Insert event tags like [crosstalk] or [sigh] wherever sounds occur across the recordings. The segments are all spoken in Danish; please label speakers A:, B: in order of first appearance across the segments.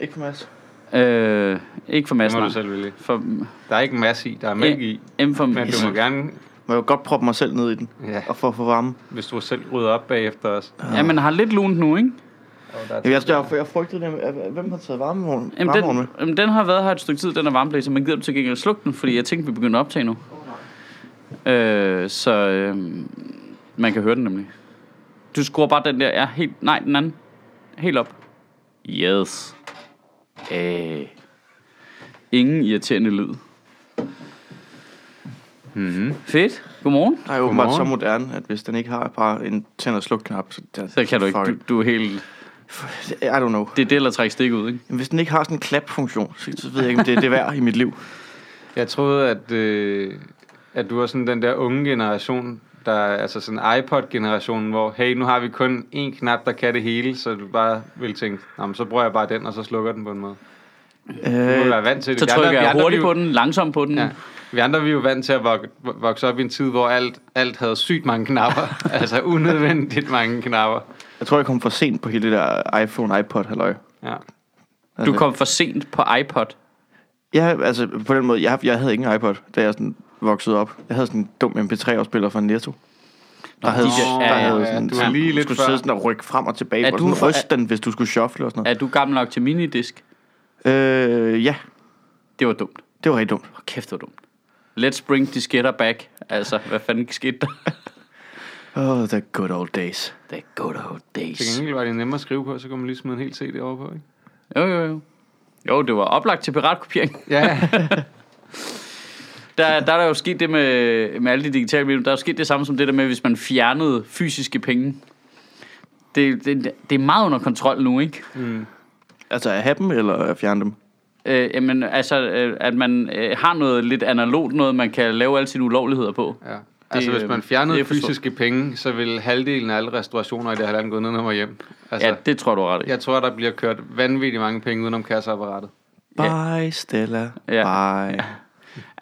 A: Ikke for Mads.
B: Øh, ikke for
C: Det
B: massen.
C: må du selv vælge.
B: For,
C: Der er ikke masse i, der er mælk i.
B: M for
C: Men du må gerne,
A: Må jeg jo godt proppe mig selv ned i den.
C: ja,
A: Og for at få varme.
C: hvis du selv rydder op bagefter os.
B: Ja, man har lidt lunt nu, ikke?
A: Jamen, jeg, jeg, jeg frygtede nemlig, at- at- hvem har taget varmevogn?
B: Jamen,
A: varmevogn med?
B: den, jamen, den har været her et stykke tid, den er varmeblæser, men gider du til gengæld slukke den, fordi jeg tænkte, vi begyndte at optage nu. Øh, så øh, man kan høre den nemlig. Du skruer bare den der, ja, helt, nej, den anden. Helt op. Yes. Øh. Ingen irriterende lyd. Mm-hmm.
C: Mhm.
B: Fedt. Godmorgen.
A: Der er jo åbenbart så
C: Godmorgen.
A: moderne, at hvis den ikke har bare en tænd- og sluk-knap, så, der,
B: Så kan du ikke,
A: fuck
B: du,
A: it.
B: du er helt,
A: I don't know.
B: det er det, der trækker stik ud, ikke?
A: Jamen, hvis den ikke har sådan en klap-funktion, så, så ved jeg ikke, om det er det værd i mit
B: [laughs]
A: liv.
C: Jeg troede, at, øh, at du var sådan den der unge generation, der altså sådan iPod-generationen, hvor hey, nu har vi kun én knap, der kan det hele, så du bare vil tænke, "Nå, men så bruger jeg bare den, og så slukker den på en måde. Du må
A: Øh,
C: være vant til det.
B: Så
C: Vi andre-
B: trykker
C: vi
B: jeg
C: andre,
B: hurtigt
C: vi-
B: på den, langsomt på den.
C: Ja. Vi andre vi er jo vant til at vok- vokse op i en tid, hvor alt, alt havde sygt mange knapper. [laughs] altså unødvendigt mange knapper.
A: jeg tror, jeg kom for sent på hele det der iPhone, iPod, halløj.
C: Ja.
B: Du kom for sent på iPod.
A: Ja, altså på den måde, jeg, jeg havde ikke en iPod, da jeg sådan voksede op. Jeg havde sådan en dum MP3-afspiller fra Netto. Der havde,
B: de der- ja, ja,
A: havde
C: ja, du var lige
A: du
C: lidt
A: skulle
C: før.
A: sidde sådan og rykke frem og tilbage,
B: Er
A: og
B: du
A: sådan
B: fra-
A: ryste den, hvis du skulle shuffle og sådan
B: Er du gammel nok til minidisk?
A: noget. Øh, ja,
B: Det var dumt.
A: det var rigtig dumt.
B: Hvor kæft, det var dumt. Let's bring disketter back. Altså, hvad fanden skete der?
C: [laughs]
A: Oh, the good old days.
B: The good old
C: Til
B: days.
C: gengæld var det nemmere at skrive på, så kunne man lige smide en hel CD over på, ikke?
B: Jo, jo, jo. Jo, det var oplagt til piratkopiering. [laughs]
C: Ja,
B: Der, der er der jo sket det med, med alle de digitale medier. Der er jo sket det samme som det der med, hvis man fjernede fysiske penge. Det, det, det er meget under kontrol nu, ikke?
A: Altså at have dem, eller at fjerne dem?
B: Øh, jamen, altså, øh, at man øh, har noget lidt analogt, noget man kan lave alle sine ulovligheder på.
C: [laughs] ja. Altså,
B: Det,
C: hvis
B: øh,
C: man fjernede
B: det er forstået.
C: fysiske penge, så ville halvdelen af alle restaurationer i det her land gå ned og hjem. Altså,
B: Ja,
C: ja.
B: det tror du er ret i.
C: Jeg tror, der bliver kørt vanvittigt mange penge udenom kasseapparatet.
A: Bye, Stella.
B: Ja.
A: Bye.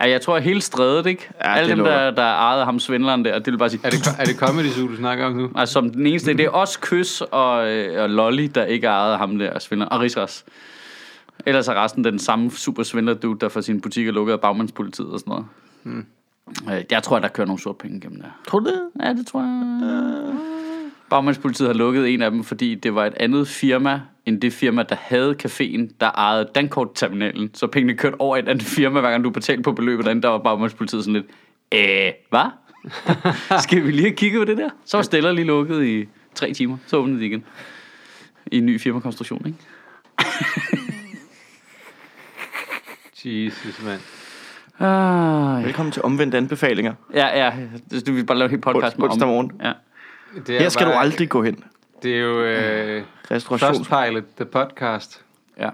B: Ja, jeg tror, at hele strædet, ikke? Ja,
A: Ja,
B: Alle
A: det
B: dem,
A: lukker.
B: der, der ejede ham svindleren der, det ville bare sige...
C: Er det, er det Comedy Zoo, du snakker om nu?
B: Altså, som den eneste, det er også Kys og, øh, og Lolly, der ikke ejede ham der svindleren. Og Rigsras. Ellers er resten den samme super svindlerdude, der for sin butik er lukket af bagmandspolitiet og sådan noget. Hmm. Jeg tror, at der kører nogle sorte penge gennem der.
A: Tror du det?
B: Ja, det tror jeg. Øh. Bagmandspolitiet har lukket en af dem, fordi det var et andet firma, end det firma, der havde caféen, der ejede Dankort-terminalen. Så pengene kørte over i et andet firma, hver gang du betalte på beløbet derinde, der var bagmandspolitiet sådan lidt, æh, hvad? [laughs] Skal vi lige have kigget på det der? Så var Stella lige lukket i tre timer, så åbnede de igen. I en ny firmakonstruktion, ikke?
C: Jesus, mand.
B: Ah, ja.
A: Velkommen til omvendt anbefalinger.
B: ja, ja, det- du vil bare lave en hel podcast
A: Ons- onsdag
B: om-
A: morgen.
B: Ja.
C: Det er
A: Her skal du
C: bare-
A: aldrig gå hen.
C: Det er jo øh,
A: Restauration.
C: Trustpilot, the podcast.
B: ja.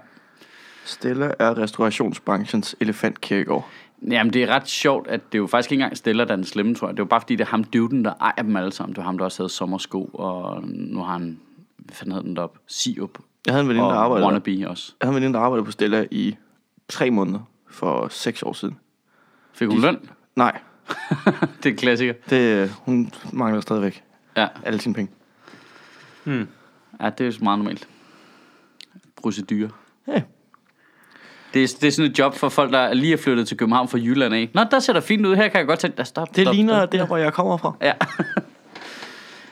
A: Stella er restaurationsbranchens elefantkirkegård.
B: Jamen, det er ret sjovt, at det jo faktisk ikke engang stiller, der er den slemme, tror jeg. Det var bare, fordi det er ham dyvden, der ejer dem alle sammen. Det var ham, der også havde sommersko, og nu har han, hvad fanden hed den deroppe? Siup.
A: Jeg havde en veninde, der
B: Og
A: arbejdede der.
B: Wannabe også.
A: Jeg havde en veninde, der arbejdede på Stella i tre måneder for seks år siden.
B: Fik hun løn? [laughs]
A: Nej,
B: Det er en klassiker.
A: det, hun mangler stadigvæk
B: Ja,
A: alle sine penge.
B: ja det er jo meget normalt. Procedure.
A: Ja.
B: Det er, det er sådan et job for folk, der lige er flyttet til København fra Jylland af. Nå, der ser der fint ud. Her kan jeg godt tage... Ja, stop,
A: Det
B: stop,
A: ligner
B: Stop.
A: der, hvor jeg kommer fra.
B: Ja.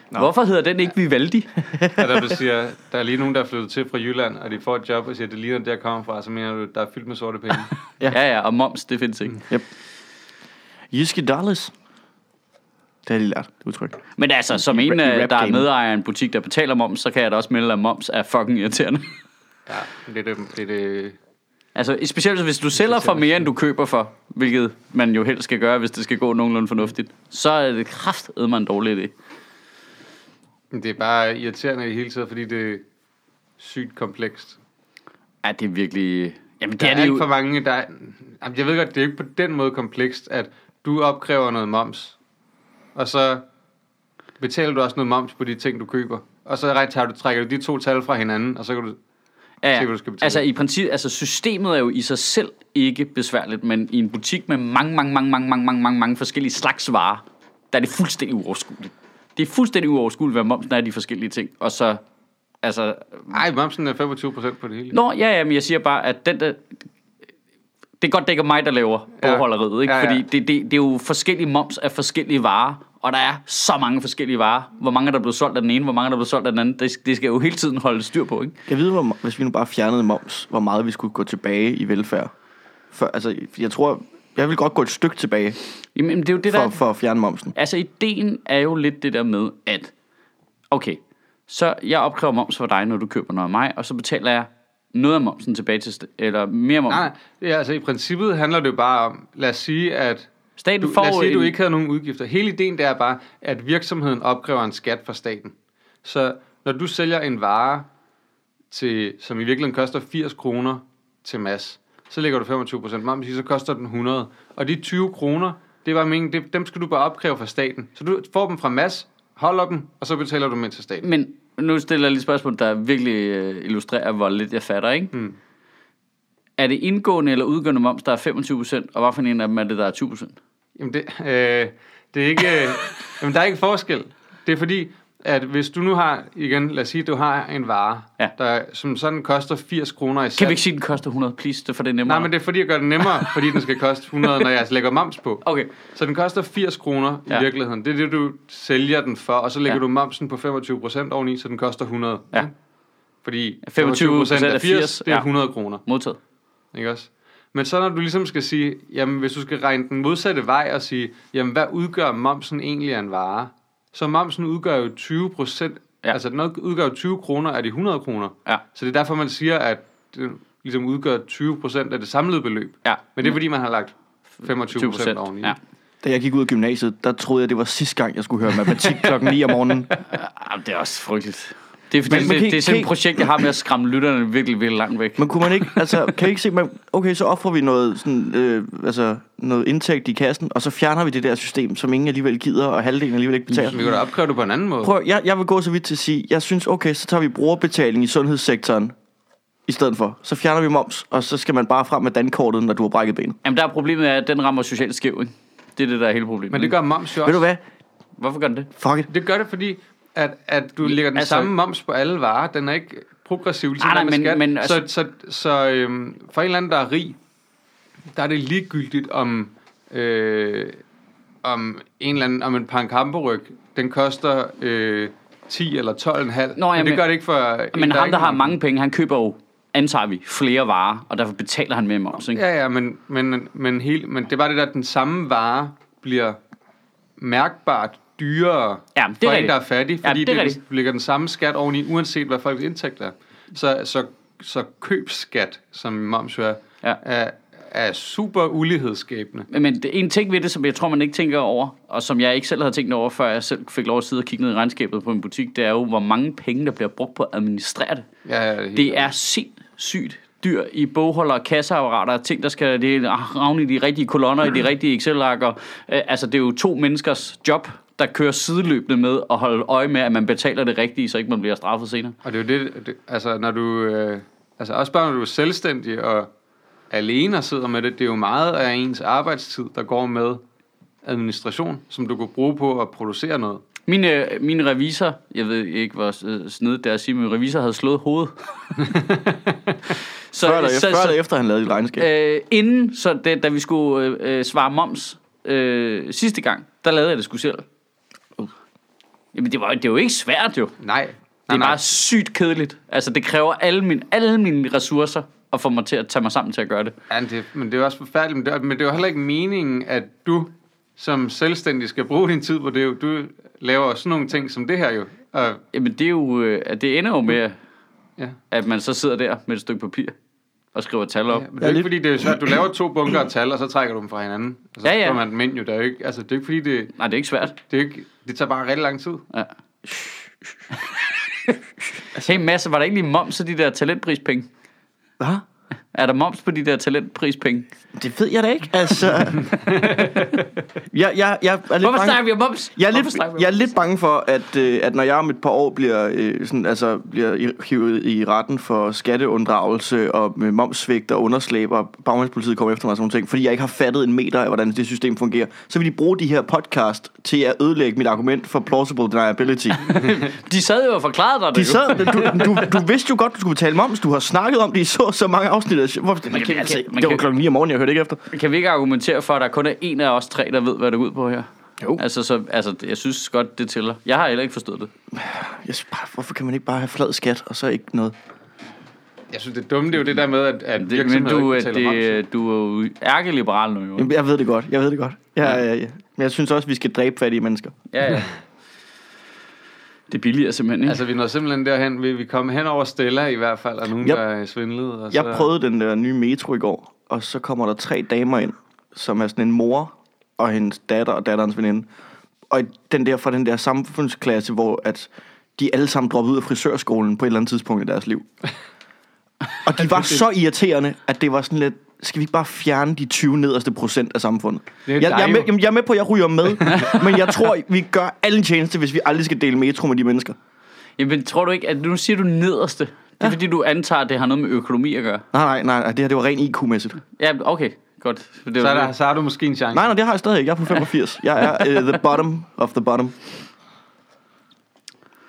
B: [laughs] Hvorfor hedder den ikke Vivaldi?
C: Og der, du siger, der er lige nogen, der er flyttet til fra Jylland, og de får et job og siger, det ligner der jeg kommer fra, så mener du, der er fyldt med sorte penge. [laughs]
B: ja. ja, ja, og moms, det findes ikke.
A: Yep. Jyske Dallas. Det har de lært, det udtryk.
B: Men altså, som
A: i
B: en,
A: rap- i
B: øh, der er
A: rap-gamet.
B: medejer af en butik, der betaler moms, så kan jeg da også melde, at moms er fucking irriterende.
C: ja, det er det, det, er det.
B: [laughs] altså, specielt hvis du sælger for mere, end du køber for, hvilket man jo helst skal gøre, hvis det skal gå nogenlunde fornuftigt, så er det kraftedme en dårlig idé.
C: det er bare irriterende i det hele taget, fordi det er sygt komplekst.
B: Ja, det er virkelig... Jamen, det
C: Der er,
B: er det
C: alt for
B: jo...
C: mange, der er, Jamen, Jeg ved godt, det er ikke på den måde komplekst, at du opkræver noget moms, og så betaler du også noget moms på de ting, du køber. Og så ret- tager du, trækker du de to tal fra hinanden, og så kan du...
B: Ja,
C: Se, hvad
B: ja.
C: du skal betale.
B: altså, i princippet, altså, systemet er jo i sig selv ikke besværligt, men i en butik med mange, mange, mange, mange, mange, mange, mange, mange forskellige slags varer, der er det fuldstændig uoverskueligt. Det er fuldstændig uoverskueligt, hvad momsen er af de forskellige ting, og så altså...
C: Ej, momsen er 25 procent på det hele.
B: Nå, ja, ja, men jeg siger bare, at den der... Det er godt, det ikke er mig, der laver
C: Ja.
B: bogholderiet, ikke?
C: Ja, ja.
B: Fordi det, det, det er jo forskellige moms af forskellige varer, og der er så mange forskellige varer. Hvor mange er der blevet solgt af den ene, hvor mange er der blevet solgt af den anden. Det, det skal jo hele tiden holde styr på, ikke?
A: Jeg ved, hvor, me- hvis vi nu bare fjernede moms, hvor meget vi skulle gå tilbage i velfærd. For, altså, jeg tror, jeg vil godt gå et stykke tilbage
B: Jamen, det er jo det, der...
A: for, for at fjerne momsen.
B: Altså, ideen er jo lidt det der med, at okay, så jeg opkræver moms for dig, når du køber noget af mig, og så betaler jeg noget af momsen tilbage til, st- eller mere moms.
C: Nej, nej. Ja, altså i princippet handler det jo bare om, lad os sige, at
B: Staten
C: du,
B: får
C: lad os sige, at
B: en-
C: du ikke havde nogen udgifter. Hele ideen der er bare, at virksomheden opkræver en skat fra staten. Så når du sælger en vare, til, som i virkeligheden koster 80 kroner til mass, så lægger du 25% moms i, så koster den 100. Og de 20 kroner, det var meningen, det, dem skal du bare opkræve fra staten. Så du får dem fra mass, holder dem, og så betaler du dem ind til staten.
B: Men nu stiller jeg lige et spørgsmål, der virkelig øh, illustrerer, hvor lidt jeg fatter, ikke? Mm. Er det indgående eller udgående moms, der er 25%, og hvad for en af dem er det, der er 20%?
C: Jamen det, øh, det er ikke, øh, jamen der er ikke forskel. Det er fordi, at hvis du nu har, igen, lad os sige, du har en vare,
B: Ja.
C: der som sådan koster 80 kroner i
B: Kan
C: salg.
B: vi ikke sige, at den koster 100, please? Det for det er nemmere.
C: Nej, men det er fordi, jeg gør det
B: [laughs]
C: nemmere, fordi den skal koste 100, når jeg lægger moms på.
B: Okay.
C: Så den koster 80 kroner ja.
B: Ja.
C: i virkeligheden. Det er det, du sælger den for, og så lægger
B: Ja.
C: ja. du momsen på 25% oveni, så den koster 100.
B: Ja.
C: Fordi
B: 25%
C: 25%
B: er
C: af 80,
B: 80,
C: det er
B: ja.
C: 100 kroner.
B: Modtaget.
C: Ikke også? Men så når du ligesom skal sige, jamen hvis du skal regne den modsatte vej og sige, jamen hvad udgør momsen egentlig af en vare? Så momsen udgør jo 20 procent,
B: Ja.
C: ja. altså den udgør jo 20 kroner af de 100 kroner.
B: Ja.
C: Så det er derfor, man siger, at det ligesom udgør 20 procent af det samlede beløb.
B: Ja.
C: Men det er fordi, man har lagt 25 procent oveni.
B: Ja.
A: Da jeg gik ud af gymnasiet, der troede jeg, det var sidste gang, jeg skulle høre matematik klokken 9 om morgenen.
B: Jamen, det er også frygteligt. Det er, fordi,
A: Men
B: det,
A: man kan
B: det, det er
A: ikke-
B: sådan et
A: kan-
B: projekt, jeg har med at skræmme lytterne virkelig, virkelig langt væk.
A: Men kunne man ikke, altså, kan I ikke se, man, okay, så offrer vi noget, sådan, øh, altså, noget indtægt i kassen, og så fjerner vi det der system, som ingen alligevel gider, og halvdelen alligevel ikke
C: Så vi
B: Mm.
A: betaler.
C: kan da opkræve det på en anden måde.
A: Prøv, jeg, jeg vil gå så vidt til at sige, jeg synes, okay, så tager vi brugerbetaling i sundhedssektoren i stedet for. Så fjerner vi moms, og så skal man bare frem med dankortet, når du har brækket benet.
B: Jamen, der er problemet er, at den rammer socialt skæv, ikke? Det er det, der er hele problemet.
C: Men det gør moms jo også.
A: Ved du hvad?
B: Hvorfor gør den det?
A: Fuck it.
C: Det gør det, fordi at, at du lægger den
B: altså-
C: altså, samme moms på alle varer. Den er ikke progressiv, ligesom
B: Nej, nej,
C: den med
B: men-
C: skat.
B: men altså-
C: så så, så øhm, for en eller anden, der er rig, der er det ligegyldigt om, øh, om, en eller anden, om en pankamperyg. Den koster øh, 10 eller 12,5.
B: Nå, ja,
C: men det
B: men-
C: gør det ikke for... en,
B: Men ham,
C: ikke
B: der har
C: nogen-
B: mange penge, han køber jo, antager vi, flere varer, og derfor betaler han mere moms, ikke?
C: Ja, ja, men, men, men, hele, men det er bare det der, at den samme vare bliver mærkbart dyrere
B: Ja, men det er
C: for en,
B: rigtigt.
C: der er fattig,
B: Ja,
C: fordi
B: det er
C: det,
B: rigtigt.
C: det ligger den samme skat oveni, uanset hvad folks indtægt er. Så, så, så købskat, som moms jo er,
B: Ja.
C: er, er super ulighedsskabende.
B: Men det, en ting ved det, som jeg tror, man ikke tænker over, og som jeg ikke selv havde tænkt over, før jeg selv fik lov at sidde og kigge ned i regnskabet på en butik, det er jo, hvor mange penge, der bliver brugt på at administrere det.
C: Ja, ja, helt-
B: Det er sindssygt dyr i bogholder, kasseapparater, ting, der skal det er ravne i de rigtige kolonner, i
A: Mm.
B: de rigtige Excel-arker. Øh, altså, det er jo to menneskers job, der kører sideløbende med at holde øje med, at man betaler det rigtige, så ikke man bliver straffet senere.
C: Og det er jo det, det altså når du, øh, altså også bare når du er selvstændig og alene og sidder med det, det er jo meget af ens arbejdstid, der går med administration, som du kunne bruge på at producere noget.
B: Min, øh, min revisor, jeg ved ikke, hvor øh, snedigt det er at sige, men min revisor havde slået
A: [laughs]
B: hovedet. så,
A: Før eller efter, før eller efter han lavede et regnskab.
B: øh, inden, så det, da vi skulle øh, øh, svare moms øh, sidste gang, der lavede jeg det sgu selv.
A: Uh.
B: Jamen, det, var, det er jo ikke svært, jo.
C: Nej. Det
B: Det er bare sygt kedeligt. Altså, det kræver alle mine, alle mine ressourcer at få mig til at tage mig sammen til at gøre det.
C: Ja, men det, men det er jo også forfærdeligt, men det, er- men det er jo heller ikke meningen, at du som selvstændig skal bruge din tid på det. jo. Du laver også sådan nogle ting som det her jo. Og,
B: Jamen, det, er jo, øh, at det ender jo med,
C: ja.
B: at man så sidder der med et stykke papir og skriver tal op.
C: Ja, men det er jo ikke fordi, det er svært. Du laver to bunker af tal, og så trækker du dem fra hinanden. Og så
B: Ja, ja.
C: får man dem ind jo. Det er jo ikke, altså, det er jo ikke fordi, det,
B: Nej, det er ikke svært.
C: det, er jo ikke, det tager bare rigtig lang tid.
B: Ja.
A: Altså-
B: Hey, Mads, var der ikke lige moms af de der talentprispenge?
A: Hvad?
B: Er der moms på de der talentprispenge?
A: Det ved jeg da ikke.
B: [laughs]
A: Altså, jeg, jeg, jeg er lidt
B: Hvorfor
A: bange.
B: snakker vi om moms?
A: Jeg er,
B: Hvorfor
A: lidt,
B: snakker vi om
A: jeg er
B: moms?
A: lidt bange for, at, øh, at når jeg om et par år bliver, øh, sådan, altså, bliver i- hivet i retten for skatteunddragelse og med momssvigt og underslæb, og bagmandspolitiet kommer efter mig og sådan nogle ting, fordi jeg ikke har fattet en meter af, hvordan det system fungerer, så vil de bruge de her podcast til at ødelægge mit argument for plausible [laughs] deniability.
B: De sad jo og forklarede dig
A: De
B: det. jo.
A: sad, du, du, du vidste jo godt, du skulle betale moms. Du har snakket om det i så, så mange afsnit. af- Hvor, man kan,
B: kan-
A: altså,
B: man
A: det var
B: kan-
A: klokken 9 om morgenen, jeg hørte ikke efter.
B: Kan vi ikke argumentere for, at der kun er en af os tre, der ved, hvad det går ud på her?
A: Jo.
B: Altså, så, altså, jeg synes godt, det tæller. Jeg har heller ikke forstået det.
A: Jeg synes bare, hvorfor kan man ikke bare have flad skat, og så ikke noget?
C: Jeg synes, det dumme, det er jo det der med, at, at
B: det men
C: virksomheder
B: du,
C: ikke
B: er-
C: betaler moms.
B: det, du er jo ærkeliberal nu, jo.
A: Jamen, Jeg ved det godt, jeg ved det godt. Jeg, ja. jeg, men jeg synes også, vi skal dræbe fattige mennesker.
B: Ja, ja. Det billiger simpelthen, ikke? Altså,
C: Altså, vi når simpelthen derhen, vi, vi kom hen over Stella i hvert fald, og nogen,
A: Jeg-
C: der er svindlet. Og
A: Jeg
C: så,
A: prøvede den der nye metro i går, og så kommer der tre damer ind, som er sådan en mor og hendes datter og datterens veninde. Og i den der fra den der samfundsklasse, hvor at de alle sammen droppede ud af frisørskolen på et eller andet tidspunkt i deres liv. Og de var så irriterende, at det var sådan lidt, skal vi ikke bare fjerne de 20 nederste procent af samfundet?
C: Det er
A: Jeg,
C: dig
A: jeg, er med,
C: jo.
A: jamen, jeg er med på, at jeg ryger
C: [laughs]
A: med, men jeg tror, vi gør alle en tjeneste, hvis vi aldrig skal dele metro med de mennesker.
B: Jamen, tror du ikke, at nu siger du nederste? Det er, ja. fordi du antager, at det har noget med økonomi at gøre.
A: Nej, nej, nej, nej det her det var rent IQ-mæssigt.
B: Ja, okay. Godt. Det
C: Så,
B: var- [laughs]
C: er der, så har du måske en chance.
A: Nej, nej, det har jeg stadig ikke. Jeg er på 85. Jeg er uh, the bottom of the bottom.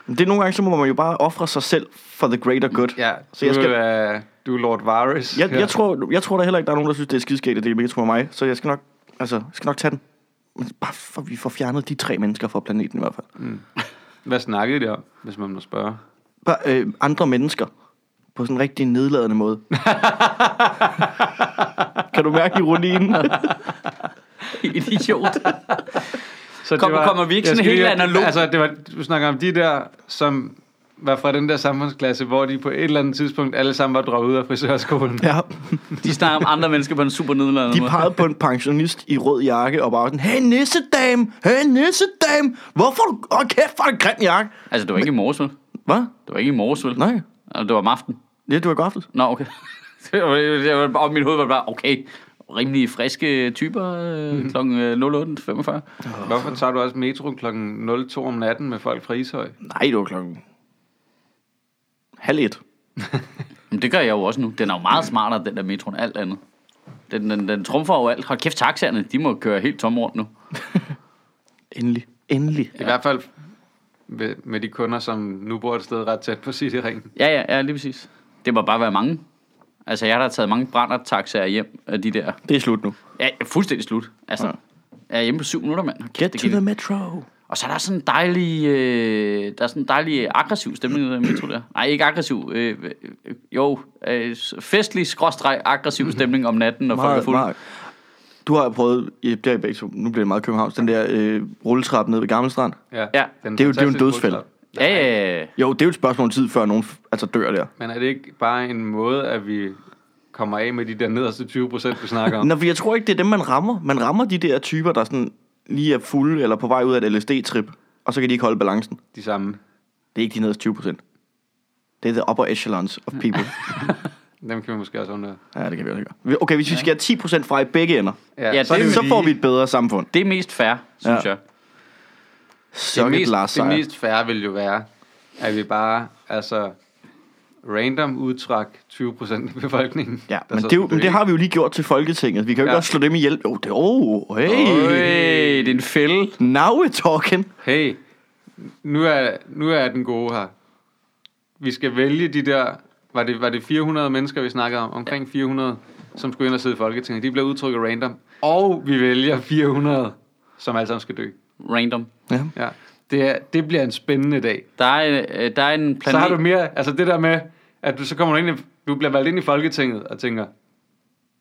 A: Men det er nogle gange, så må man jo bare ofre sig selv for the greater good.
C: Ja,
A: Så jeg
C: du,
A: skal-
C: er, du er Lord Varys.
A: Jeg,
C: her.
A: jeg, tror, jeg tror da heller ikke, der er nogen, der synes, det er skidskægt, at det er metro med mig. Så jeg skal nok, altså, jeg skal nok tage den. Men bare for, at vi får fjernet de tre mennesker fra planeten i hvert fald.
C: Hvad snakkede de om, hvis man må spørge?
A: Bare, øh, andre mennesker. På sådan en rigtig nedladende måde. kan du mærke ironien?
B: Helt idiot.
C: Så
B: Kom- kommer vi ikke
C: jeg
B: sådan
C: skal
B: helt
C: lige-
B: analogt?
C: Altså, det var, du snakker om de der, som var fra den der samfundsklasse, hvor de på et eller andet tidspunkt alle sammen var droppet ud af frisørskolen.
A: Ja.
B: De snakker om andre mennesker på en super nedladende
A: De
B: måde.
A: pegede på en pensionist i rød jakke og bare sådan, hey nissedame, hey nissedame, hvorfor er du, åh kæft, hvor er det en grim jakke.
B: Altså, det var ikke i morges, vel?
A: Hvad?
B: Det var ikke i morges, vel?
A: Nej.
B: Og det var om aftenen.
A: Ja, det var i går aftes.
B: Nå, okay. [laughs] Det var- det var- Og mit hoved var bare, okay, rimelig friske typer
A: Mhm.
B: øh, kl. 08.45.
C: Hvorfor tager du også metro kl. 02 om natten med folk fra Ishøj?
A: Nej, det var klokken halv et.
B: Men det gør jeg jo også nu. Den er jo meget smartere, den der metro, end alt andet. Den, den, den trumfer jo alt. Hold kæft, taxaerne, de må køre helt tom rundt nu.
A: Endelig. Endelig.
C: I hvert fald med, med de kunder, som nu bor et sted ret tæt på Cityringen.
B: Ja, ja, ja, lige præcis. Det må bare være mange. Altså, jeg har da taget mange brændert-taxaer hjem af de der.
A: Det er slut nu.
B: Ja, jeg er fuldstændig slut. Altså,
A: Ja.
B: jeg er hjemme på syv minutter, mand. Hold Kæft,
A: Get
B: det
A: to
B: gik-
A: the metro.
B: Og så er der sådan en dejlig, øh, der er sådan en dejlig aggressiv stemning i den metro der. Nej, ikke aggressiv. Øh, øh, jo, øh, festlig, skråstreg,
C: Mhm.
B: aggressiv stemning om natten, når folk er
A: Meget,
B: fulde.
A: meget. Du har jo prøvet, ja, det er i begge to, nu bliver det meget Københavns, den der øh, rulletrappe nede ved Gammel Strand.
B: Ja.
C: den
A: Det er jo- det er jo en
C: fantastiske
A: dødsfælde.
C: rulletrap.
B: Ja, ja, ja.
A: Jo, det er jo et spørgsmål om tid, før nogen f- altså, dør der.
C: Men er det ikke bare en måde, at vi kommer af med de der nederste 20 procent, du snakker om?
A: Nå, for jeg tror ikke, det er dem, man rammer. Man rammer de der typer, der sådan lige er fulde eller på vej ud af et LSD-trip, og så kan de ikke holde balancen.
C: De samme.
A: Det er ikke de nederste 20 procent. Det er the upper echelons of
C: [laughs]
A: people.
C: Dem kan vi måske også undre.
A: ja, det kan vi også gøre. Okay, hvis vi skal have 10 procent fra i begge ender,
B: Ja,
A: så,
B: det er
A: så
C: lige-
A: får vi et bedre samfund.
B: Det er mest fair, synes
A: Ja.
B: ja. jeg.
A: Så
C: det,
A: det Lars
C: mest, det
A: Seier.
C: mest færre vil jo være, at vi bare, altså, random udtræk 20% af befolkningen.
A: Ja,
C: der
A: men
C: så
A: det, er jo,
C: skal dø.
A: men det har vi jo lige gjort til Folketinget. Vi kan jo ikke
C: Ja.
A: også slå dem ihjel. Oh, det, oh, hey.
B: Øj, det er en fælde.
A: Now we're talking.
C: Hey, nu er, nu er den gode her. Vi skal vælge de der, var det, var det 400 mennesker, vi snakkede om? Omkring 400, som skulle ind og sidde i Folketinget. De bliver udtrykket random. Og vi vælger 400, som alle sammen skal dø.
B: Random.
A: Ja.
C: Ja, det, er, det bliver en spændende dag.
B: Der er, øh, der er en planet...
C: Så har du mere, altså det der med, at du så kommer du ind, i- du bliver valgt ind i Folketinget og tænker,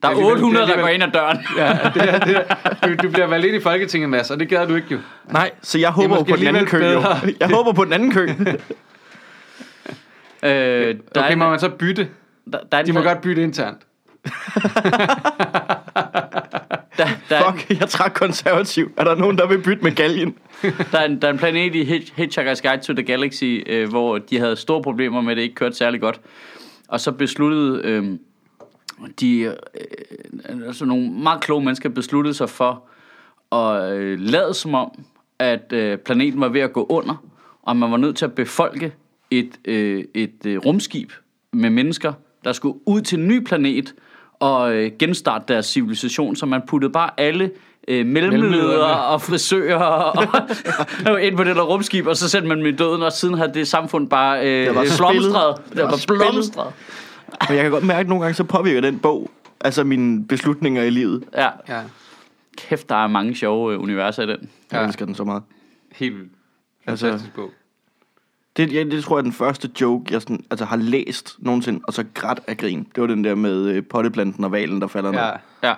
B: der er
C: alligevel-
B: 800, der
C: alligevel-
B: går ind ad døren.
C: Ja, det er, det er, du, du bliver valgt ind i Folketinget, Mads, og det gad du ikke jo.
A: Nej, så jeg håber jo
C: måske
A: på den anden kø.
C: alligevel
A: Jo.
C: bedre.
A: Jeg håber på den anden
C: [laughs]
A: kø.
B: Øh, der, er
C: Okay,
B: en,
C: må man så bytte?
B: der, der er en,
C: De må
B: pla-
C: godt bytte internt.
B: Der, der, er en-
A: Fuck, jeg trak konservativ. Er der nogen, der vil bytte med galgen?
B: Der er en, der er en planet i Hitch, Hitchhiker's Guide to the Galaxy, øh, hvor de havde store problemer med, at det ikke kørte særlig godt. Og så besluttede øh, de, øh, altså nogle meget kloge mennesker besluttede sig for at øh, lade som om, at øh, planeten var ved at gå under, og man var nødt til at befolke et, øh, et øh, rumskib med mennesker, der skulle ud til en ny planet og øh, genstarte deres civilisation, så man puttede bare alle øh, mellemledere
C: Mellemlederne.
B: og frisører og, og [laughs] ind på det der rumskib, og så sendte man dem i døden, og siden havde det samfund bare øh,
A: Det var så
B: blomstret.
A: spillet.
B: Det var,
A: Det var
B: var
A: spillet.
B: blomstret.
A: [laughs] Men jeg kan godt mærke, at nogle gange så påvirker den bog, altså mine beslutninger i livet.
B: Ja.
C: Ja.
B: Kæft, der er mange sjove øh, universer i den.
A: Jeg
C: Ja.
A: elsker den så meget.
C: Helt vildt.
A: Altså-
C: Fantastisk altså, bog.
A: Det, jeg, det tror jeg er den første joke, jeg sådan, altså, har læst nogensinde, og så grædt af grin. Det var den der med øh, potteplanten og valen, der falder
C: Ja.
A: ned.
B: Ja.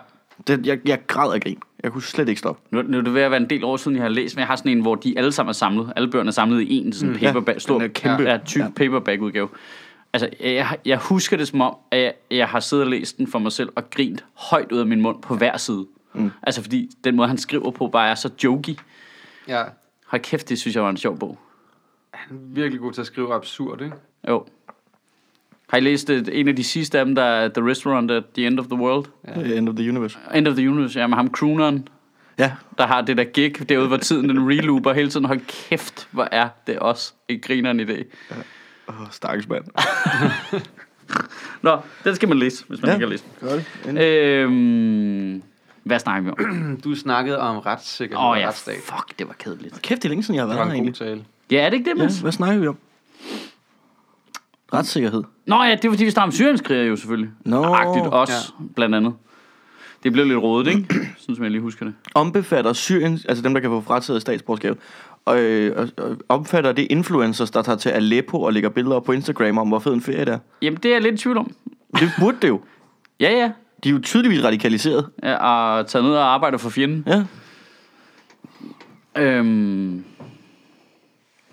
A: Det, jeg, jeg græd af grin. Jeg kunne slet ikke stoppe.
B: Nu, nu er det ved at være en del år siden, jeg har læst, men jeg har sådan en, hvor de alle sammen er samlet. Alle bøgerne er samlet i en sådan
A: ja,
B: paperback, stor,
A: den er kæmpe.
B: Ja, tyk ja. paperback-udgave. Altså, jeg, jeg husker det som om, at jeg, jeg har siddet og læst den for mig selv og grint højt ud af min mund på hver side. Mm. Altså, fordi den måde, han skriver på, bare er så jokey.
C: ja.
B: Hold kæft, det synes jeg var en sjov bog.
C: Han er virkelig god til at skrive absurd, ikke?
B: Jo. Har I læst øh, en af de sidste af dem, der er The Restaurant at the End of the World?
A: Ja. Øh, End of the universe.
B: End of the Universe, ja, med ham crooneren,
A: Ja,
B: der har det der gig derude, hvor tiden den relooper hele tiden. Hold kæft, hvor er det også en grineren idé.
A: oh, stakkels mand.
B: Nå, den skal man læse, hvis man
A: Ja.
B: ja. ikke har læst den.
A: Gør det.
B: Øhm, hvad snakker vi om?
C: Mm, Du snakkede om retssikkerhed
B: Åh
C: oh,
B: oh,
C: ja.
B: ja,
C: og retsstat.
B: fuck, det var kedeligt.
A: Kæft, det er længe siden, jeg har
C: Det
A: været
C: var
A: her
C: en god
A: egentlig.
C: tale.
B: Ja, er det ikke det, Mads?
A: Ja, hvad snakker vi om? Retssikkerhed.
B: Nå ja, det er fordi, vi snakker om syrenskriger jo selvfølgelig.
A: Nå.
B: Agtigt også, ja. blandt andet. Det blev lidt rodet, ikke? [clears throat] Sådan som jeg lige husker det.
A: Ombefatter Syrien, altså dem, der kan få frataget statsborgerskab, og, øh, og, og omfatter det influencers, der tager til Aleppo og lægger billeder op på Instagram om, hvor fed en ferie det er.
B: Jamen, det er jeg lidt i tvivl om.
A: Det burde det jo.
B: Ja, ja.
A: De er jo tydeligvis radikaliseret.
B: ja og taget ned og arbejder for fjenden.
A: Ja.
B: Øhm,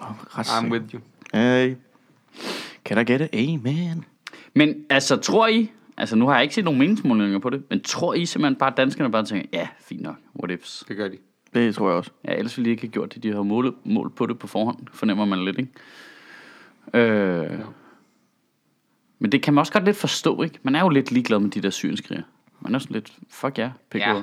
C: I'm
A: Retssikkerhed.
C: with you.
A: Hey. Kan der gætte? Amen.
B: Men altså, tror I, altså nu har jeg ikke set nogen meningsmålinger på det, men tror I simpelthen bare, at danskerne bare tænker, ja, fint nok, what ifs.
C: Det gør de.
A: Det tror jeg også.
B: Ja, ellers ville de ikke have gjort det, de har målet, målt på det på forhånd, fornemmer man lidt, ikke? Øh, men det kan man også godt lidt forstå, ikke? Man er jo lidt ligeglad med de der syrenskriger. Man er sådan lidt, fuck yeah, pik
C: Ja.
B: ja,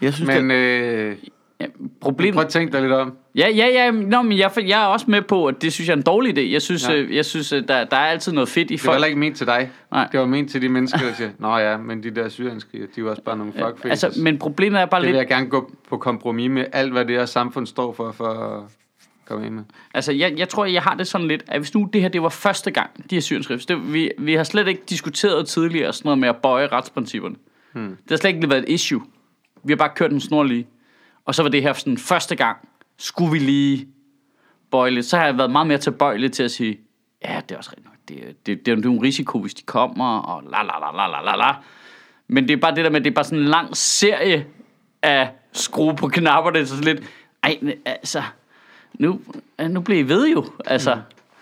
A: Jeg synes,
C: Men
A: Men,
C: øh,
B: ja,
C: prøv
B: problemet...
C: at tænke dig lidt om.
B: Ja, ja, ja, nå, men jeg, jeg er også med på, at det synes jeg er en dårlig idé. Jeg synes,
C: Ja.
B: ja. jeg synes øh, der, der er altid noget fedt i
C: Det var
B: folk.
C: heller ikke ment til dig.
B: Nej.
C: Det var ment til de mennesker, der siger, Nå ja, men de der syrianskriger, de er jo også bare nogle fuckfaces.
B: altså, men problemet er bare
C: det
B: lidt...
C: vil jeg gerne gå på kompromis med alt, hvad det her samfund står for, for at komme ind med.
B: Altså, jeg, jeg tror, jeg har det sådan lidt, at hvis nu det her det var første gang, de her syrenskrips, det, vi, vi har slet ikke diskuteret tidligere sådan noget med at bøje retsprincipperne. Hmm. Det har slet ikke været et issue. Vi har bare kørt den snorlige. Og så var det her sådan første gang, skulle vi lige bøje lidt. Så har jeg været meget mere tilbøjelig til at sige, ja, det er også rigtigt nok. Det, det, det, det er jo en risiko, hvis de kommer, og la la la la la la la. Men det er bare det der med, at det er bare sådan en lang serie af skrue på knapperne, så sådan lidt, ej, altså, nu, nu bliver I ved jo, altså. Mm.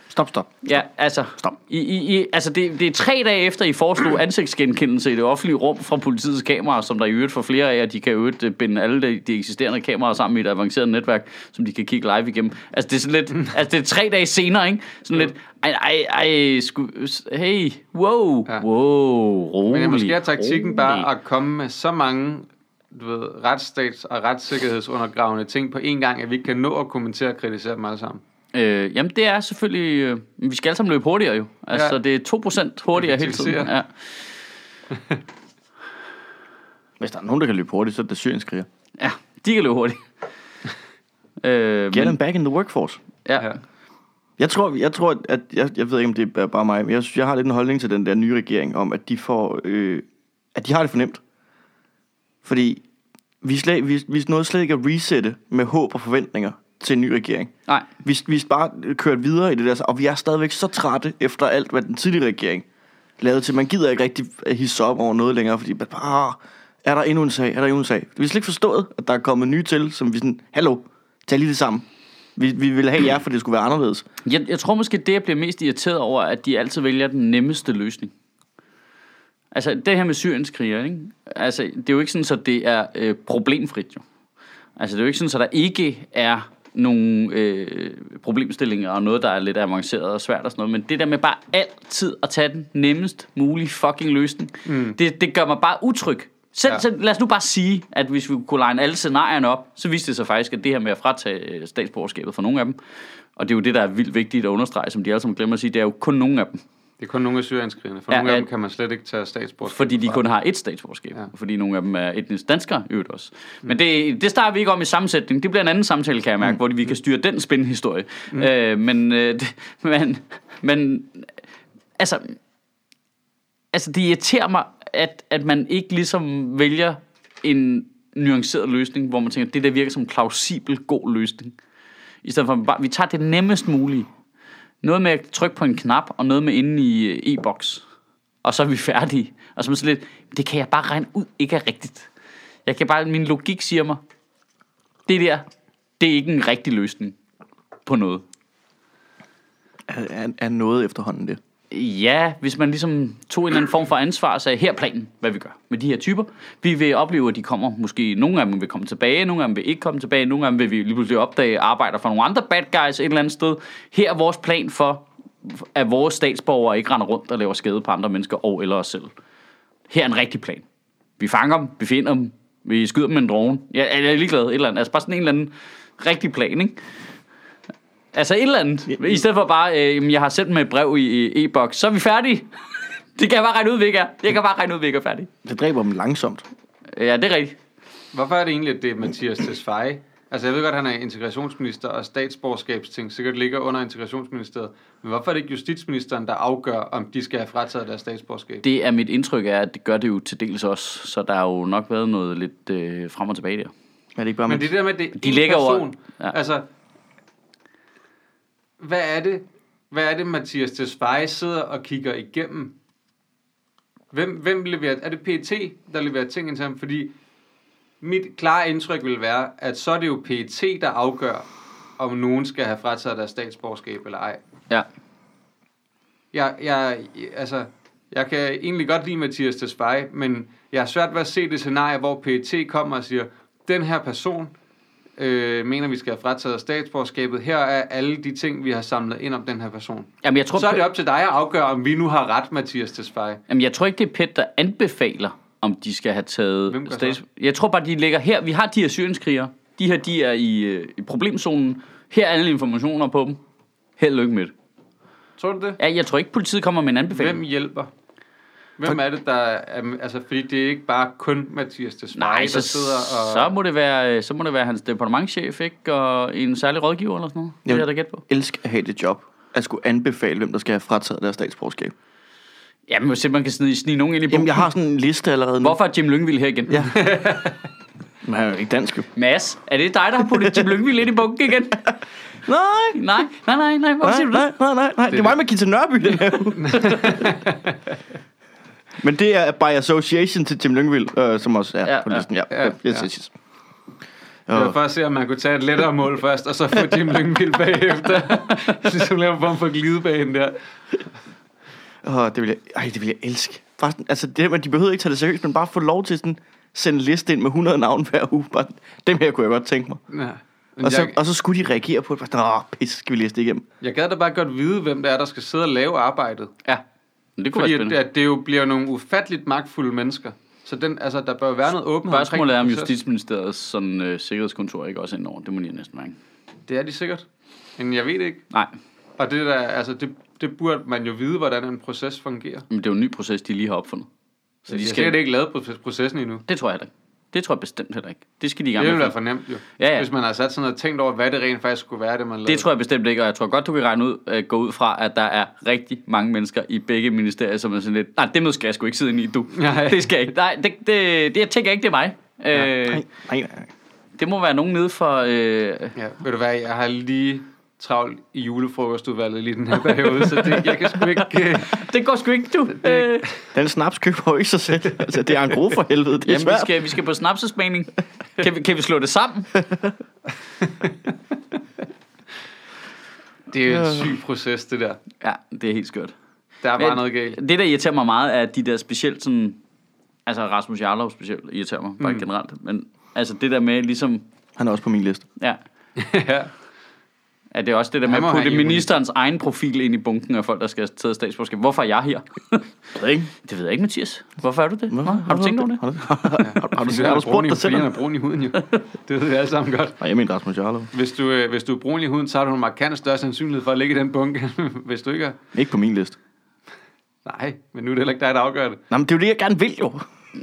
A: stop, stop.
B: Ja, altså, I, I, I, altså det, det er tre dage efter, I foreslog ansigtsgenkendelse i det offentlige rum fra politiets kameraer, som der i øvrigt for flere af jer, de kan i øvrigt øh, binde alle de, de eksisterende kameraer sammen i et avanceret netværk, som de kan kigge live igennem. Altså det er sådan
C: Mm.
B: lidt, altså det er tre dage senere, ikke? Sådan lidt, ej, ej, ej, sku, hey, wow,
C: Ja.
B: ja. wow, rolig,
C: Men det er måske er taktikken
B: rolig.
C: bare at komme med så mange du ved, retsstats- og retssikkerhedsundergravende ting på én gang, at vi ikke kan nå at kommentere og kritisere dem alle sammen.
B: Øh, jamen det er selvfølgelig, øh, men vi skal alle sammen løbe hurtigere jo. Altså
C: Ja.
B: ja. det er 2% hurtigere hele tiden.
C: Effektivisere.
B: Ja.
A: Hvis der er nogen, der kan løbe hurtigt, så er det syrienskriger.
B: Ja, de kan løbe hurtigt. øh,
A: Get
B: men,
A: them back in the workforce.
B: ja.
A: Jeg tror, jeg tror, at jeg, jeg ved ikke, om det er bare mig, men jeg, synes, jeg har lidt en holdning til den der nye regering om, at de får, øh, at de har det fornemt. Fordi vi, slet, vi, vi nåede slet ikke at resette med håb og forventninger til en ny regering.
B: Nej,
A: Vi, vi er bare kørt videre i det der, og vi er stadigvæk så trætte efter alt, hvad den tidligere regering lavede til. Man gider ikke rigtig øh, hisse op over noget længere, fordi bare, "Ah, er der endnu en sag, er der endnu en sag. Vi har slet ikke forstået, at der er kommet nye til, som vi sådan, hallo, tag lige det sammen. Vi, vi ville have jer, for det skulle være anderledes.
B: jeg, jeg tror måske, det jeg bliver mest irriteret over, er, at de altid vælger den nemmeste løsning. Altså, det her med syrienskriger, ikke? Altså, det er jo ikke sådan, at det er øh, problemfrit, jo. Altså, det er jo ikke sådan, at der ikke er nogle øh, problemstillinger og noget, der er lidt avanceret og svært og sådan noget. Men det der med bare altid at tage den nemmest mulige fucking løsning, mm. det, det gør mig bare utryg. Selv,
C: Ja.
B: ja. selv, lad os nu bare sige, at hvis vi kunne line alle scenarierne op, så viste det sig faktisk, at det her med at fratage øh, statsborgerskabet for nogle af dem, og det er jo det, der er vildt vigtigt at understrege, som de alle sammen glemmer at sige, det er jo kun nogle af dem.
C: Det er kun nogle af syrianskrigerne. For ja,
B: Ja,
C: nogle af
B: ja.
C: dem kan man slet ikke tage statsborgerskab
B: Fordi de
C: fra.
B: kun har et statsborgerskab.
C: Ja.
B: Ja. Fordi nogle af dem er etnisk danskere, i øvrigt også. Men det, det starter vi ikke om i sammensætning. Det bliver en anden samtale, kan jeg mærke, mm. hvor vi kan styre den spændende historie. Mm. Øh, men, øh, [laughs] det, men, men, altså, altså, det irriterer mig, at, at man ikke ligesom vælger en nuanceret løsning, hvor man tænker, det der virker som en plausibel god løsning. I stedet for, at man bare, vi tager det nemmest mulige. Noget med at trykke på en knap, og noget med inde i øh, e-boks. Og så er vi færdige. Og så er man sådan lidt, det kan jeg bare regne ud, ikke er rigtigt. Jeg kan bare, min logik siger mig, det der, det er ikke en rigtig løsning på noget.
A: Er, er, er noget efterhånden det?
B: Ja, hvis man ligesom tog en eller anden form for ansvar og sagde, her er planen, hvad vi gør med de her typer. Vi vil opleve, at de kommer. Måske nogle af dem vil komme tilbage, nogle af dem vil ikke komme tilbage, nogle af dem vil vi lige pludselig opdage, arbejder for nogle andre bad guys et eller andet sted. Her er vores plan for, at vores statsborgere ikke render rundt og laver skade på andre mennesker og eller os selv. Her er en rigtig plan. Vi fanger dem, vi finder dem, vi skyder dem med en drone. Jeg, jeg er ligeglad, et eller andet. Altså bare sådan en eller anden rigtig plan, ikke? Altså et eller andet. I stedet for bare, øh, jamen, jeg har sendt med et brev i i e-boks, så er vi færdige. [laughs] det kan jeg bare regne ud, vi ikke er. Jeg kan bare regne ud, vi ikke er færdige.
A: Det dræber dem langsomt.
B: Øh, Ja, det er rigtigt.
C: Hvorfor er det egentlig, at det er Mathias Tesfaye? Altså, jeg ved godt, at han er integrationsminister, og statsborgerskabsting sikkert ligger under integrationsministeriet. Men hvorfor er det ikke justitsministeren, der afgør, om de skal have frataget deres statsborgerskab? Det...
B: Det er mit indtryk er, at det gør det jo til dels også. Så der har jo nok været noget lidt øh, frem og tilbage der.
A: Er det ikke bare,
C: Men det der med, at det er
B: De
C: én
B: ligger over-
C: person.
B: Ja.
C: Altså, hvad er det, hvad er det Mathias Tesfaye sidder og kigger igennem? Hvem, hvem leverer, er det PET, der leverer ting til ham? Fordi mit klare indtryk vil være, at så er det jo PET, der afgør, om nogen skal have frataget deres statsborgerskab eller ej.
B: Ja.
C: Jeg, jeg, altså, jeg kan egentlig godt lide Mathias Tesfaye, men jeg har svært ved at se det scenarie, hvor PET kommer og siger, den her person øh, mener, vi skal have frataget statsborgerskabet. Her er alle de ting, vi har samlet ind om den her person.
B: Jamen, jeg tror,
C: Så er det op til dig at afgøre, om vi nu har ret, Mathias Tesfaye.
B: Jamen, jeg tror ikke, det er PET, der anbefaler, om de skal have taget...
C: Hvem gør
B: stats-
C: så?
B: Jeg tror bare, de ligger her. Vi har de her syrienskrigere. De her, de er i, øh, i problemzonen. Her er alle informationer på dem. Held og lykke med det.
C: Tror du det?
B: Ja, jeg tror ikke, politiet kommer med en anbefaling.
C: Hvem hjælper? Hvem er det, der... Er, altså, fordi det er ikke bare kun Mathias Tesfaye,
B: Nej,
C: der
B: så,
C: sidder og...
B: så, må det være, øh, så må det være hans departementchef, ikke? Og en særlig rådgiver eller sådan noget. Det er
A: Jamen.
B: jeg da gæt på.
A: elsk at have det job? At skulle anbefale, hvem der skal have frataget deres statsborgerskab.
B: Jamen, hvis man kan snige, snige nogen ind i
A: Jamen,
B: bunden.
A: jeg har sådan en liste allerede nu.
B: Hvorfor er Jim Lyngvild her igen?
A: Ja. Men han er jo ikke dansk, jo.
B: Mads, er det dig, der har puttet Jim Lyngvild ind i bunken igen?
A: Nej!
B: Nej, nej, nej, nej. Hvor
A: Nej,
B: siger du det?
A: nej, nej, nej, nej. Det er mig med Gita Nørby, den her uge. Men det er by association til Tim Lyngvild, øh, som også er
B: Ja,
A: ja, på
B: ja,
A: listen. Ja,
C: ja,
A: ja, ja.
C: ja.
A: Yes, yes, yes.
C: Det var
A: Og,
C: for at se, om man kunne tage et lettere mål først, og så
B: [laughs]
C: få Jim Lyngvild bagefter. Jeg synes, hun laver en form for glidebane der.
A: og det vil jeg, ej, det vil jeg elske. Bare, sådan- altså, det, men de behøver ikke tage det seriøst, men bare få lov til sådan, sende en liste ind med 100 navne hver uge. Bare, sådan, dem her kunne jeg godt tænke mig.
C: Ja. Men
A: Og så,
C: jeg,
A: og så skulle de reagere på det. Bare, Åh, pis, skal vi læse det igennem?
C: jeg gad da bare godt vide, hvem det er, der skal sidde og lave arbejdet.
B: Ja, Men det kunne
C: Fordi
B: være
C: at,
B: spændende.
C: at det jo bliver nogle ufatteligt magtfulde mennesker. Så den, altså, der bør jo være noget åbenhed
B: Spørgsmålet er, om
C: proces.
B: Justitsministeriets sådan, øh, sikkerhedskontor ikke også er indover. Det må lige næsten være. ikke?
C: Det er de sikkert. Men jeg ved det ikke.
B: Nej,
C: Og det, der, altså, det, det burde man jo vide, hvordan en proces fungerer.
B: men det er jo en ny proces, de lige har opfundet. Så
C: De
B: de
C: har
B: skal...
C: sikkert ikke lavet proces- processen endnu.
B: Det tror jeg heller ikke. Det tror jeg bestemt heller ikke. Det skal de i gang
C: Det ville
B: med.
C: være for nemt jo.
B: Ja, ja.
C: Hvis man har sat sådan noget og tænkt over, hvad det rent faktisk skulle være, det man lavede.
B: Det tror jeg bestemt ikke, og jeg tror godt, du kan regne ud, øh, gå ud fra, at der er rigtig mange mennesker i begge ministerier, som er sådan lidt, nej, det møde skal jeg sgu ikke sidde inde i, du.
C: Nej.
B: Det skal jeg ikke. Nej, det, det, det jeg tænker ikke, det er mig. Øh,
A: Nej, nej, nej.
B: det må være nogen nede for... Øh,
C: Ja, ved du hvad, jeg har lige travlt i julefrokostudvalget lige den her periode, så det, jeg kan sgu ikke... øh,
B: det går sgu ikke, du. Øh,
A: Den snaps køber jo ikke sig selv. Altså, det er en gro for helvede. Det er
B: jamen, vi
A: svært.
B: skal, vi skal på snapsesmagning. Kan vi, kan vi slå det sammen?
C: Det er jo en syg proces, det der.
B: Ja, det er helt skørt.
C: Der er bare
B: Men
A: [laughs]
C: noget galt.
B: Det, der irriterer mig meget, er at de der specielt sådan... Altså Rasmus Jarlov specielt
C: Mm.
B: irriterer mig, bare generelt. Men altså det der med ligesom...
A: Han er også på min liste.
B: Ja,
C: ja.
B: Ja, det er også det der
C: Han
B: med
C: må
B: at
C: have
B: putte
C: immunitet.
B: ministerens egen profil ind i bunken af folk, der skal have taget statsborgerskab. Hvorfor er jeg her? [laughs]
A: ved ikke.
B: det ved jeg ikke, Mathias. Hvorfor er du det? Hvorfor? Har du tænkt over det?
A: Har du, har, har, har, du, har du spurgt dig selv?
C: Fordi han
A: om-
C: er brun i
A: [laughs]
C: huden, jo. Det ved vi alle sammen godt.
A: Nej, jeg mener Rasmus Jarlov.
C: Hvis du, øh, hvis du er brun i huden, så har du en markant større sandsynlighed for at ligge i den bunke, [laughs] hvis du ikke er.
A: Ikke på min liste.
C: Nej, men nu er det heller ikke dig, der afgør det.
A: Nå, men det er jo det, jeg gerne vil jo.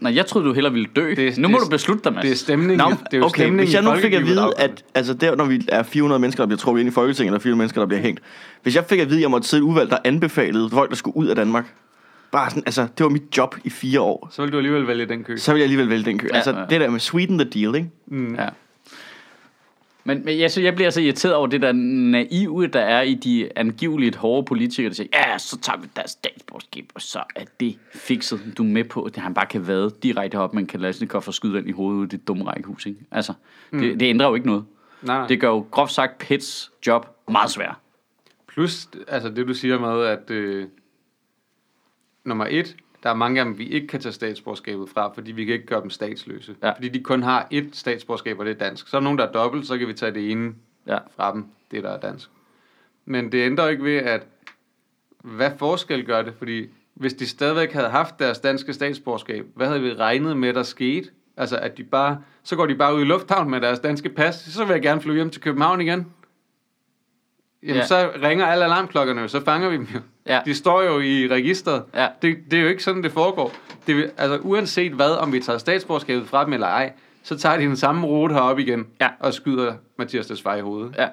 B: Nej, jeg troede, du hellere ville dø.
C: Det-
B: Det, nu må
C: det-
B: du beslutte dig, Mads.
C: Det er stemningen.
A: Nå,
C: det er jo
A: okay,
C: stemningen
A: hvis jeg
C: i
A: nu fik at
C: folkelivet, der
A: vide,
C: afgør det.
A: at altså der, når vi er 400 mennesker, der bliver trukket ind i Folketinget, eller 400 mennesker, der bliver hængt, hvis jeg fik at vide, at jeg måtte sidde i et udvalg, der anbefalede folk, der skulle ud af Danmark, bare sådan, altså, det var mit job i fire år,
C: Så vil du alligevel vælge den kø.
A: så ville jeg alligevel vælge den kø.
B: Ja,
A: altså,
B: ja.
A: det der med Sweden the deal, ikke?
B: Ja. Men, men jeg, synes, jeg bliver så irriteret over det der naive, der er i de angiveligt hårde politikere, der siger, ja, så tager vi deres statsborgerskab, og så er det fikset. Du er med på, at han bare kan vade direkte op med en kalasnikov og skyde den i hovedet ud i det dumme rækkehus. Ikke? Altså,
C: Mm.
B: det, det, ændrer jo ikke noget.
C: Nej, nej.
B: Det gør jo groft sagt Pets job meget svær.
C: Plus, altså det du siger med, at øh, nummer et, der er mange af dem, vi ikke kan tage statsborgerskabet fra, fordi vi kan ikke gøre dem statsløse.
B: Ja.
C: Fordi de kun har et statsborgerskab, og det er dansk. Så er der nogen, der er dobbelt, så kan vi tage det ene
B: Ja.
C: fra dem, det der er dansk. Men det ændrer ikke ved, at hvad forskel gør det? Fordi hvis de stadigvæk havde haft deres danske statsborgerskab, hvad havde vi regnet med, der skete? Altså, at de bare, så går de bare ud i lufthavnen med deres danske pas, så vil jeg gerne flyve hjem til København igen. Jamen, ja.
B: Ja.
C: så ringer alle alarmklokkerne jo, så fanger vi dem jo.
B: Ja.
C: De står jo i registret.
B: Ja.
C: Det, det er jo ikke sådan, det foregår. Det, vil- altså, uanset hvad, om vi tager statsborgerskabet fra dem eller ej, så tager de den samme rute herop igen
B: Ja.
C: og skyder Mathias Desvej i hovedet.
B: Ja.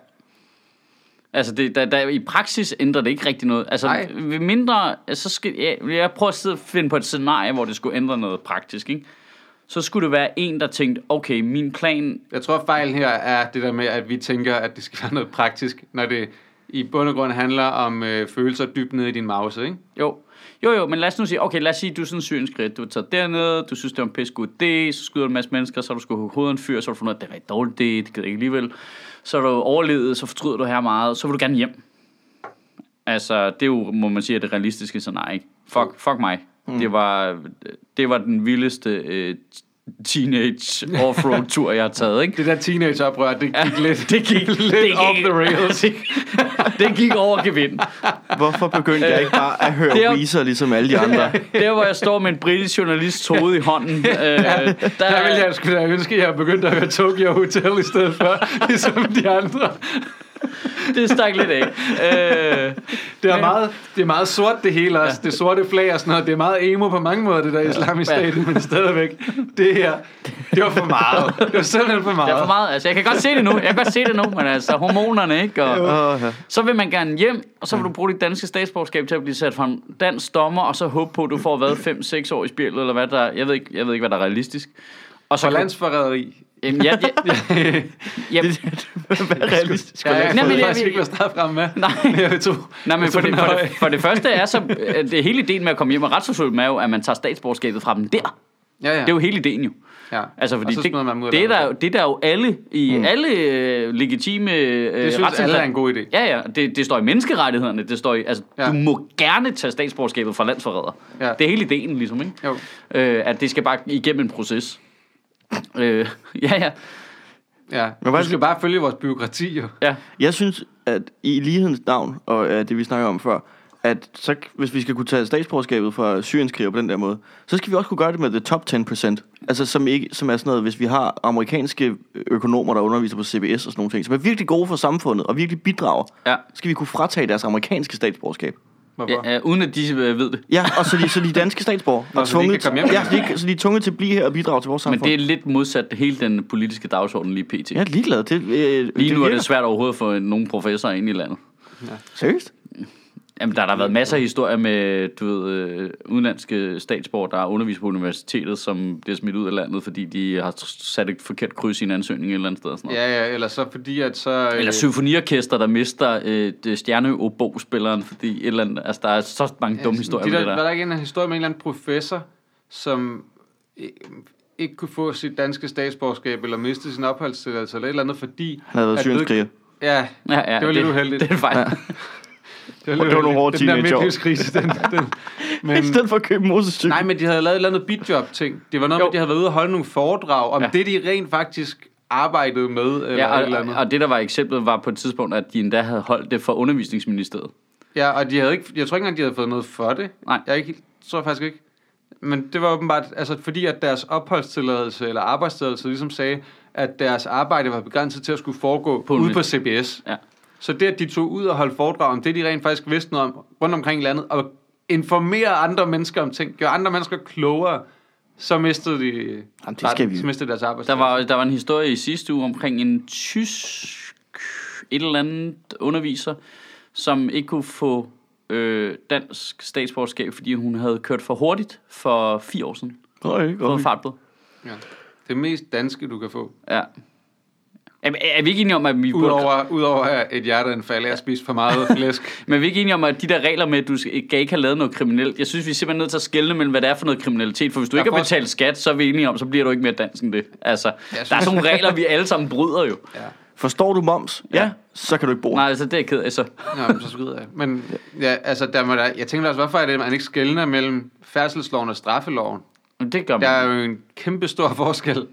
B: Altså, det, der, der, i praksis ændrer det ikke rigtig noget. Altså,
C: Nej.
B: ved mindre, så skal, jeg, jeg prøver at sidde og finde på et scenarie, hvor det skulle ændre noget praktisk, ikke? Så skulle det være en, der tænkte, okay, min plan...
C: Jeg tror, fejlen her er det der med, at vi tænker, at det skal være noget praktisk, når det i bund og grund handler om øh, følelser dybt nede i din mause, ikke?
B: Jo, jo, jo, men lad os nu sige, okay, lad os sige, du er sådan en syrienskridt, du tager dernede, du synes, det var en pisse god idé, så skyder du en masse mennesker, så har du skulle hovedet af en fyr, så har du fundet, ud af, at det er en rigtig dårlig idé, det gider jeg ikke alligevel. Så har du overlevet, så fortryder du her meget, så vil du gerne hjem. Altså, det er jo, må man sige, er det realistiske scenarie, ikke? Fuck, fuck mig. Mm. Det, var, det var den vildeste øh, teenage offroad tur, jeg har taget, ikke?
C: Det der teenageoprør, [laughs] det gik lidt,
B: Det gik
C: lidt
B: det gik-
C: off the rails.
B: Det, det gik over gevind.
A: Hvorfor begyndte jeg ikke bare at
C: [laughs]
A: høre
B: Det er jo-
A: Weezer ligesom alle de andre?
B: Der, hvor jeg står med en britisk journalist hoved i hånden, øh,
C: [laughs]
B: der,
C: Der ville jeg skulle da ønske, at jeg begyndte at høre Tokyo Hotel i stedet for, [laughs] ligesom de andre.
B: det stak lidt af. Øh,
C: Det er,
B: Men-
C: meget, det er meget sort det hele også, det sorte flag og sådan noget. Det er meget emo på mange måder, det der islamisk
B: Ja.
C: stat, men stadigvæk. Det her, det var for meget. Det var simpelthen for
B: det er for
C: meget.
B: meget. Altså, jeg kan godt se det nu. Jeg kan godt se det nu, men altså, hormonerne, ikke? Og,
A: Åh, ja.
B: så vil man gerne hjem, og så vil du bruge dit danske statsborgerskab til at blive sat for en dansk dommer, og så håbe på, at du får hvad, 5-6 år i spillet, eller hvad der... Jeg ved ikke, jeg ved ikke hvad der er realistisk. Og så
C: For
B: [laughs]
C: landsforræderi.
B: Jamen, ja, ja,
C: [laughs]
B: ja,
A: Hvad er realistisk?
C: Ja, jeg
B: Nej, men
C: ved
B: jeg-
C: faktisk ikke, hvad start frem med. [laughs]
B: Nej.
C: Men jeg tog,
B: Nej, men
C: jeg
B: for
C: tog
B: det,
C: den
B: for,
C: høje.
B: det, for det første er så... øh, Det hele ideen med at komme hjem og retsforfølge dem er jo, at man tager statsborgerskabet fra dem der. Det
C: Ja, ja.
B: er jo hele ideen jo.
C: ja.
B: Altså, fordi
C: og så
B: det,
C: smider man dem ud af
B: det, er der,
C: landet.
B: jo- det er der jo alle i mm. alle øh, legitime øh,
C: Det synes alle er en god idé.
B: Ja, ja. Det, det står i menneskerettighederne. Det står i, altså,
C: Ja.
B: ja. Du må gerne tage statsborgerskabet fra landsforræder.
C: Ja.
B: Ja. Det er hele ideen, ligesom, ikke?
C: Jo.
B: Øh, at det skal bare igennem en proces. Øh, [laughs] ja, ja,
C: Ja.
A: Men hvad-
C: Du skal bare følge vores byråkrati, jo.
B: ja.
A: Jeg synes, at i lighedens navn, og uh, det vi snakker om før, at så, hvis vi skal kunne tage statsborgerskabet fra syrienskriger på den der måde, så skal vi også kunne gøre det med the top 10%. Altså som, ikke, som er sådan noget, hvis vi har amerikanske økonomer, der underviser på CBS og sådan nogle ting, som er virkelig gode for samfundet og virkelig bidrager,
B: Ja.
A: så skal vi kunne fratage deres amerikanske statsborgerskab.
C: Hvorfor?
B: ja, ja uden at de øh, ved det.
A: Ja, og så de, så de danske statsborger
C: Nå,
A: er
C: så de ikke
A: tvunget,
C: kan komme hjem
A: ja,
C: igen.
A: så de, ikke- så de er tvunget til at blive her og bidrage til vores samfund.
B: Men det er lidt modsat hele den politiske dagsorden lige pt.
A: Jeg er ligeglad. Det, øh,
B: Lige nu er
A: virker.
B: det svært overhovedet for nogen professorer ind i landet.
A: Seriøst?
B: Jamen, der har der været masser af historier med, du ved, øh, udenlandske statsborgere, der har undervist på universitetet, som bliver smidt ud af landet, fordi de har tr- sat et forkert kryds i en ansøgning et eller andet sted. Og sådan noget.
C: Ja, ja, eller så fordi, at så... øh,
B: Eller symfoniorkester, der mister øh, det stjerneobo-spilleren, fordi et eller andet, altså, der er så mange dumme historier
C: de
B: med
C: der,
B: det
C: Var
B: der.
C: der ikke en historie med en eller anden professor, som øh, ikke kunne få sit danske statsborgerskab, eller miste sin opholdstilladelse, eller et eller andet, fordi...
A: Han har været
C: at
A: syrienskriger.
C: ved- Ja,
B: Ja, ja,
C: det var lidt uheldigt.
B: Det er fejl. Ja.
C: det
A: var nogle hårde
C: Den der
A: teenageår.
C: midtlivskrise, den...
B: [laughs]
C: den
A: Men... [laughs] I stedet for at købe Moses
C: Nej, men de havde lavet et eller andet bidjob-ting. Det var noget jo. med,
B: Jo.
C: at de havde været ude og holde nogle foredrag om ja.
B: Ja.
C: det, de rent faktisk arbejdede med, eller
B: Ja,
C: et eller
B: og,
C: andet.
B: og det, der var eksemplet, var på et tidspunkt, at de endda havde holdt det for undervisningsministeriet.
C: Ja, og de havde ikke, jeg tror ikke engang, de havde fået noget for det.
B: Nej.
C: Jeg er ikke, helt- tror jeg faktisk ikke. Men det var åbenbart, altså fordi at deres opholdstilladelse eller arbejdstilladelse ligesom sagde, at deres arbejde var begrænset til at skulle foregå
B: På
C: på ude
B: universi-
C: på CBS.
B: Ja.
C: Så det, at de tog ud og holdt foredrag om det, de rent faktisk vidste noget om rundt omkring i landet, og informere andre mennesker om ting, gjorde andre mennesker klogere, så mistede de,
A: Jamen, det skal vi jo.
C: så mistede deres
B: Der
C: arbejdstilladelse.
B: var, der var en historie i sidste uge omkring en tysk et eller andet underviser, som ikke kunne få øh, dansk statsborgerskab, fordi hun havde kørt for hurtigt for fire år siden.
A: Nej,
B: På
A: godt.
B: fartbød.
C: Ja. Det mest danske, du kan få.
B: Ja. Er, er, vi ikke enige om, at vi burde
C: Udover, udover et hjerteanfald af at spise for meget flæsk.
B: Men vi er ikke enige om, at de der regler med, at du skal skal ikke have lavet noget kriminelt, jeg synes, vi er simpelthen nødt til at skelne mellem, hvad det er for noget kriminalitet. For hvis du
C: Der er
B: ikke har
C: forskel.
B: betalt skat, så er vi enige om, så bliver du ikke mere dansk end det. Altså,
C: synes-
B: der er sådan nogle regler, vi alle sammen bryder jo.
C: Ja.
A: Forstår du moms? Ja.
B: Ja.
A: Så kan du ikke bo.
B: Nej, altså det er jeg ked af. Så.
C: Nå, men så skrider jeg. Men ja, altså, der må der, jeg tænker også, hvorfor er det, at man ikke skældner mellem færdselsloven og straffeloven?
B: Men det gør
C: Der
B: man.
C: er jo en kæmpe stor forskel. Nu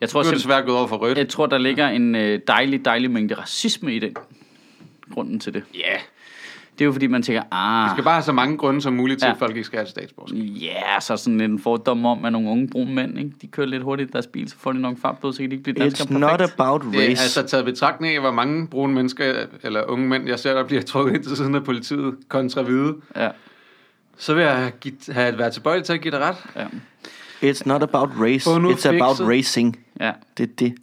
B: Jeg tror,
C: er
B: simpelthen,
C: det svært gået over for rødt.
B: Jeg tror, der ligger en øh, dejlig, dejlig mængde racisme i den. Grunden til det.
C: Ja, yeah.
B: Det er jo fordi, man tænker,
C: du
B: ah,
C: skal bare have så mange grunde som muligt til,
B: Ja.
C: at folk ikke skal have et statsborgerskab.
B: ja, yeah, så sådan en fordom om, at nogle unge brune mænd, ikke? de kører lidt hurtigt i deres bil, så får de nok fartbøde, så kan de ikke blive danskere
A: It's not
B: perfekt.
A: about race.
C: Det er altså taget i betragtning af, hvor mange brune mennesker, eller unge mænd, jeg ser, der bliver trukket ind til siden af politiet, kontra hvide.
B: Ja,
C: Så vil jeg give, have været tilbøjelig til at give dig ret.
B: ja,
A: It's not about race.
C: Få nu
A: It's about
C: fikset.
A: racing.
B: ja,
A: Det er det.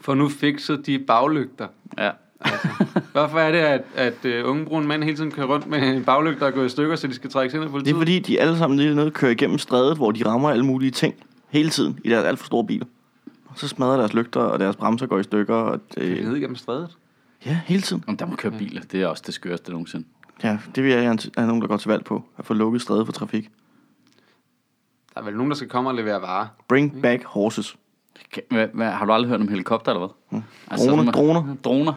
C: For nu fikset de baglygter.
B: ja.
C: Hvorfor er det, at, at øh, unge brune mænd hele tiden kører rundt med en baglygter og går i stykker, så de skal trækkes ind af
A: Det
C: politiet?
A: er fordi, de alle sammen lige nede kører igennem strædet, hvor de rammer alle mulige ting hele tiden i deres alt for store biler. Og så smadrer deres lygter, og deres bremser går i stykker. Og
C: Vi
A: det,
C: ned igennem strædet.
A: ja, hele tiden.
B: Om der må køre biler, det er også det skøreste nogensinde.
A: Ja, det vil jeg gerne have nogen, der går til valg på. At få lukket strædet for trafik.
C: Der er vel nogen, der skal komme og levere varer.
A: Bring back horses.
B: Hvad, hvad, har du aldrig hørt om helikopter eller hvad?
A: Mm. Droner,
B: sådan-
A: droner.
B: Droner.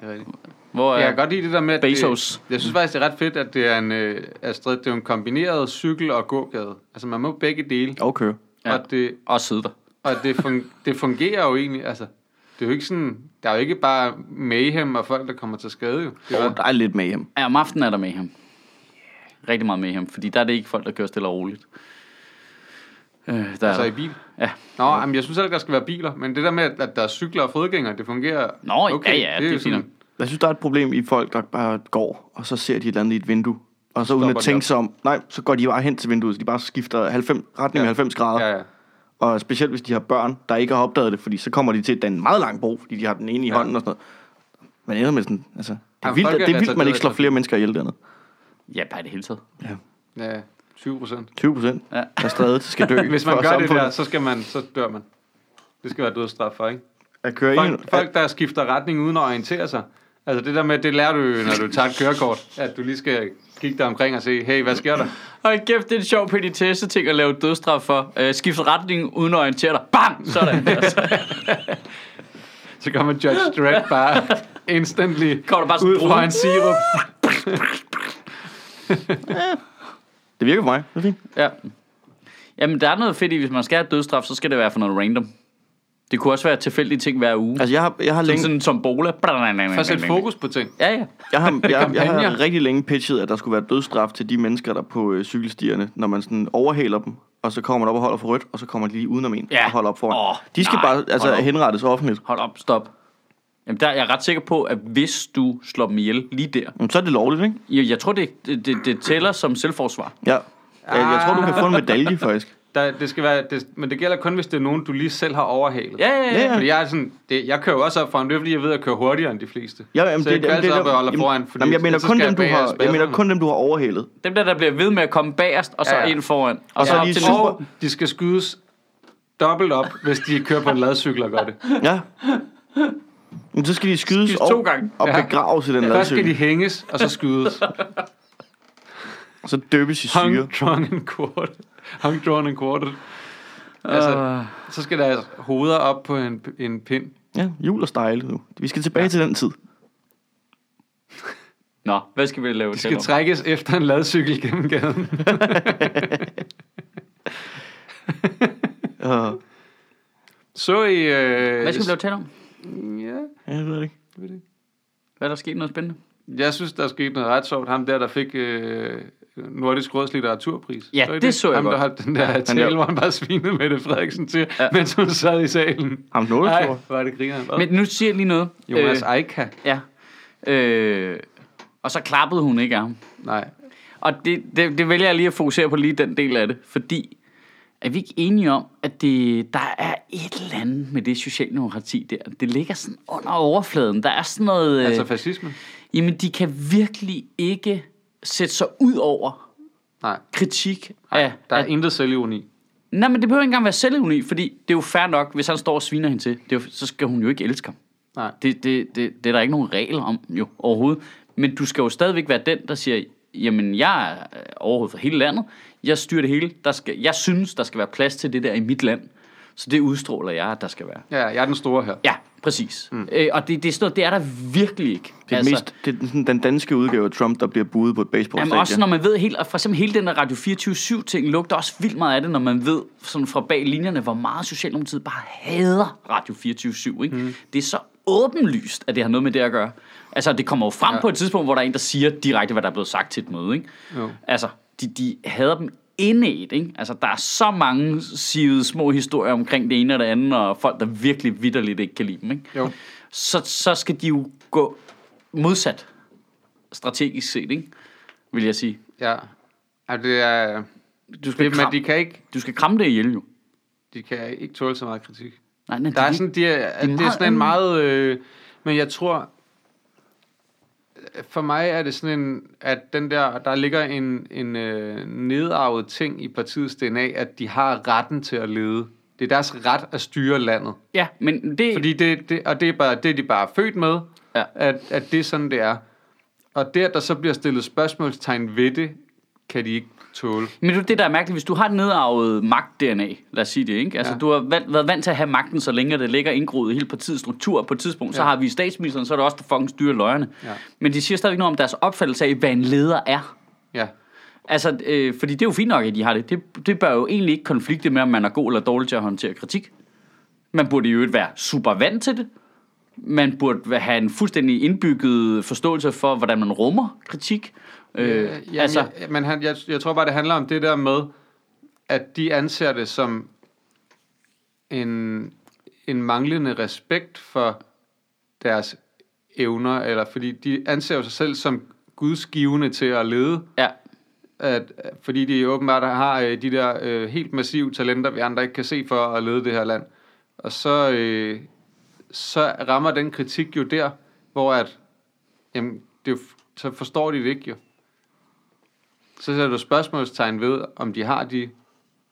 C: Det er rigtigt.
B: Hvor
C: Jeg
B: er...
C: kan godt lide det der med, at
B: Bezos.
C: Det, jeg synes faktisk, det er ret fedt, at det er en, øh, at stræd- det er jo en kombineret cykel- og gågade. Altså, man må begge dele.
A: Og køre.
B: Ja.
C: Og, det,
B: Og sidde der.
C: og det, fun, det fungerer jo egentlig. Altså, det er jo ikke sådan, der er jo ikke bare mayhem og folk, der kommer til skade. Jo. Det
A: Og
C: er,
A: der er lidt med hjem.
B: Ja, om aftenen er der med ham. Rigtig meget med ham, fordi der er det ikke folk, der kører stille og roligt. Øh, der
C: altså
B: er
C: i
B: der.
C: bil.
B: Ja.
C: Nå, jamen, jeg synes heller ikke, der skal være biler. Men det der med, at der er cykler og fodgængere, det fungerer
B: Nå, ja, ja, det
C: jo
B: er fint nok.
A: Jeg synes, der er et problem i folk, der bare går, og så ser de et eller andet i et vindue. Og så uden
C: Stopper
A: at
C: de op.
A: tænke sig om, nej, så går de bare hen til vinduet, så de bare skifter 90, retning
C: Ja.
A: ja. 90 grader.
C: ja, ja.
A: Og specielt hvis de har børn, der ikke har opdaget det, fordi så kommer de til at danne en meget lang bro, fordi de har den ene i
C: Ja.
A: ja. hånden og sådan noget. Man ender med sådan, altså, det er
C: Jamen,
A: vildt,
C: folk er altså,
A: at- det er vildt, man
C: retarderet
A: ikke slår
C: i
A: flere mennesker ihjel dernede.
B: ja, bare i det hele taget.
A: Ja.
C: Ja, 20 procent.
A: 20 procent
B: Ja.
A: af strædet skal dø.
C: [laughs] Hvis man
A: for
C: gør det
A: samfundet.
C: der, så, skal man, så dør man. Det skal være dødsstraf for, ikke?
A: At køre i en,
C: Folk, folk, der skifter retning uden at orientere sig. Altså det der med, det lærer du jo, når du tager et kørekort. At du lige skal kigge dig omkring og se, hey, hvad sker der?
B: Og kæft, det er en sjov petitesse ting at lave dødstraf for. Øh, skifte retning uden at orientere dig. Bang!
C: [laughs]
B: Sådan. Altså. der. Så
C: Så kommer Judge Dredd bare instantly
B: kommer der bare sådan
C: ud fra
B: en
C: en sirup.
B: [laughs]
A: det virker for mig. Det er fint.
B: Ja. Jamen, der er noget fedt i, hvis man skal have dødstraf, så skal det være for noget random. Det kunne også være tilfældige ting hver uge.
A: Altså, jeg har, jeg har
B: Sådan,
A: længe...
B: sådan som bola.
C: For at sætte fokus på ting.
B: Ja, ja.
A: Jeg
C: [laughs]
A: har, jeg, jeg
C: Kampagner.
A: har rigtig længe pitchet, at der skulle være dødsstraf til de mennesker, der er på øh, cykelstierne, når man sådan overhaler dem, og så kommer man op og holder for rødt, og så kommer de lige udenom en
B: Ja.
A: og holder op foran.
B: Åh,
A: de skal
B: nej,
A: bare altså,
B: hold op.
A: henrettes offentligt.
B: Hold op, stop. Jamen, der er jeg ret sikker på, at hvis du slår dem ihjel lige der,
A: Jamen, så er det lovligt, ikke?
B: jeg, jeg tror, det, det, det, det tæller som selvforsvar.
A: Ja. Jeg, jeg tror, du kan få en
C: Ah.
A: medalje, faktisk.
C: Der, det skal være, det, men det gælder kun, hvis det er nogen, du lige selv har overhalet.
B: Ja, ja, ja.
A: Ja.
C: Fordi jeg, er sådan, det, jeg kører jo også op foran, det er fordi, jeg ved at køre hurtigere end de fleste.
A: Ja, jamen,
C: så jeg
A: det,
C: kører
A: jamen,
C: altid
A: det,
C: op og holder
A: jamen,
C: foran, fordi
A: jamen, jeg mener
C: ellers så
A: kun
C: skal
A: dem, du
C: bag af
A: har, jeg mener
C: spærrene.
A: kun dem, du har overhalet.
B: Dem der, der bliver ved med at komme bagerst, og så
C: Ja,
B: ja,
C: ja.
B: ja. ind foran. Og,
A: så
B: op
A: lige
B: til
A: super-
B: næste.
C: Og de skal skydes dobbelt op, hvis de kører på en ladcykel og gør det.
A: Ja. Men så skal de skydes
B: Skydes to
A: og,
B: gange.
A: og
C: Ja.
A: begraves i den
C: Først skal de
A: ladcykel.
C: hænges, og så
A: [laughs]
C: skydes.
A: Så døbes i syre.
C: Hung, drawn and quartered. Hung, drawn and quartered. Altså, så skal deres hoveder op på en, en pind.
A: Ja, jul og style nu. Vi skal tilbage til den tid.
B: Nå, hvad skal vi lave
C: De
B: til?
C: skal trækkes efter en ladcykel gennem gaden.
A: Uh,
C: Så I... Øh,
B: Hvad skal vi lave tale om?
C: Ja,
A: Ja, jeg ved det ikke.
C: jeg ved det ikke.
B: Hvad er der sket noget spændende?
C: jeg synes, der skete noget ret sjovt. Ham der, der fik øh, Nordisk Råds litteraturpris.
B: Ja,
C: I
B: det så jeg
C: Ham, der
B: godt.
C: holdt den der tale,
A: der-
C: hvor han bare svinede Mette Frederiksen til,
B: Ja.
C: ja. mens hun sad i salen.
A: Ham Nåde,
C: Nej,
A: tror
C: hvor er det griner.
B: Men nu siger jeg lige noget.
C: Jonas
B: Øh,
C: Eika.
B: Ja. Øh, og så klappede hun ikke af ham.
C: Nej.
B: Og det, det, det vælger jeg lige at fokusere på lige den del af det, fordi er vi ikke enige om, at det, der er et eller andet med det socialdemokrati der? Det ligger sådan under overfladen. Der er sådan noget... øh,
C: Altså fascisme?
B: Jamen, de kan virkelig ikke sætte sig ud over
C: Nej.
B: kritik af...
C: Ja, der er
B: af
C: intet selvironi.
B: nej, men det behøver ikke engang være selvuni, fordi det er jo fair nok, hvis han står og sviner hende til, det er jo, så skal hun jo ikke elske ham.
C: Nej.
B: Det, det, det, det er der ikke nogen regler om jo overhovedet. Men du skal jo stadigvæk være den, der siger, jamen jeg er øh, overhovedet for hele landet, jeg styrer det hele, der skal, jeg synes, der skal være plads til det der i mit land. Så det udstråler jeg, at der skal være.
C: Ja, jeg er den store her.
B: Ja, præcis. Mm. Øh, og det, det, er sådan noget, det er der virkelig ikke.
A: Det er, altså, mest, det er den- sådan den danske udgave af Trump, der bliver buet på et
B: Jamen
A: baseballstadion.
B: også når man ved helt, og for eksempel hele den der Radio 24-7 ting lugter også vildt meget af det, når man ved sådan fra bag linjerne, hvor meget Socialdemokratiet bare hader Radio 24-7. Ikke? Mm. Det er så åbenlyst, at det har noget med det at gøre. Altså det kommer jo frem ja. på et tidspunkt, hvor der er en, der siger direkte, hvad der er blevet sagt til et møde. Ikke?
C: Jo.
B: Altså de, de hader dem inde i det, ikke? Altså, der er så mange sivede små historier omkring det ene og det andet, og folk, der virkelig vidderligt ikke kan lide dem, ikke?
C: Jo.
B: Så, så skal de jo gå modsat strategisk set, ikke? Vil jeg sige.
C: Ja. Og det er...
B: Du skal,
C: Det, men
B: kram,
C: de
B: de...
C: kan, ikke,
B: du skal kramme det ihjel, jo.
C: de kan ikke tåle så meget kritik.
B: Nej, nej,
C: Der er
B: de-
C: sådan, de er, det er
B: meget
C: sådan en
B: anden-
C: meget... Øh, men jeg tror... For mig er det sådan en, at den der, der ligger en, en øh, nedarvet ting i partiets DNA, at de har retten til at lede. Det er deres ret at styre landet.
B: Ja, men det...
C: Fordi det, det, og det er bare det, er de bare er født med,
B: Ja.
C: ja. at, at det er sådan, det er. Og det, at der så bliver stillet spørgsmålstegn ved det, kan de ikke tåle.
B: Men det er det, der er mærkeligt. Hvis du har et nedarvet magt-DNA, lad os sige det, ikke? Altså, ja.
C: Ja.
B: du har valgt, været vant til at have magten, så længe det ligger indgroet i hele partiets struktur. På et tidspunkt, ja. så
C: Ja.
B: har vi statsministeren, så er det også der fucking styrer løjerne.
C: Ja.
B: Men de siger stadigvæk noget om deres opfattelse af, hvad en leder er.
C: Ja.
B: Altså, øh, fordi det er jo fint nok, at de har det. det. Det bør jo egentlig ikke konflikte med, om man er god eller dårlig til at håndtere kritik. Man burde jo ikke være super vant til det. Man burde have en fuldstændig indbygget forståelse for, hvordan man rummer kritik. Øh,
C: Øh, jamen,
B: altså,
C: altså, jeg, men han, jeg, jeg tror bare, det handler om det der med, at de anser det som en, en manglende respekt for deres evner, eller fordi de anser jo sig selv som gudsgivende til at lede,
B: ja,
C: at, fordi de åbenbart har øh, de der øh, helt massive talenter, vi andre ikke kan se for at lede det her land. Og så, øh, så rammer den kritik jo der, hvor at, jamen, det er jo, f- så forstår de det ikke jo. Så sætter du spørgsmålstegn ved, om de har de...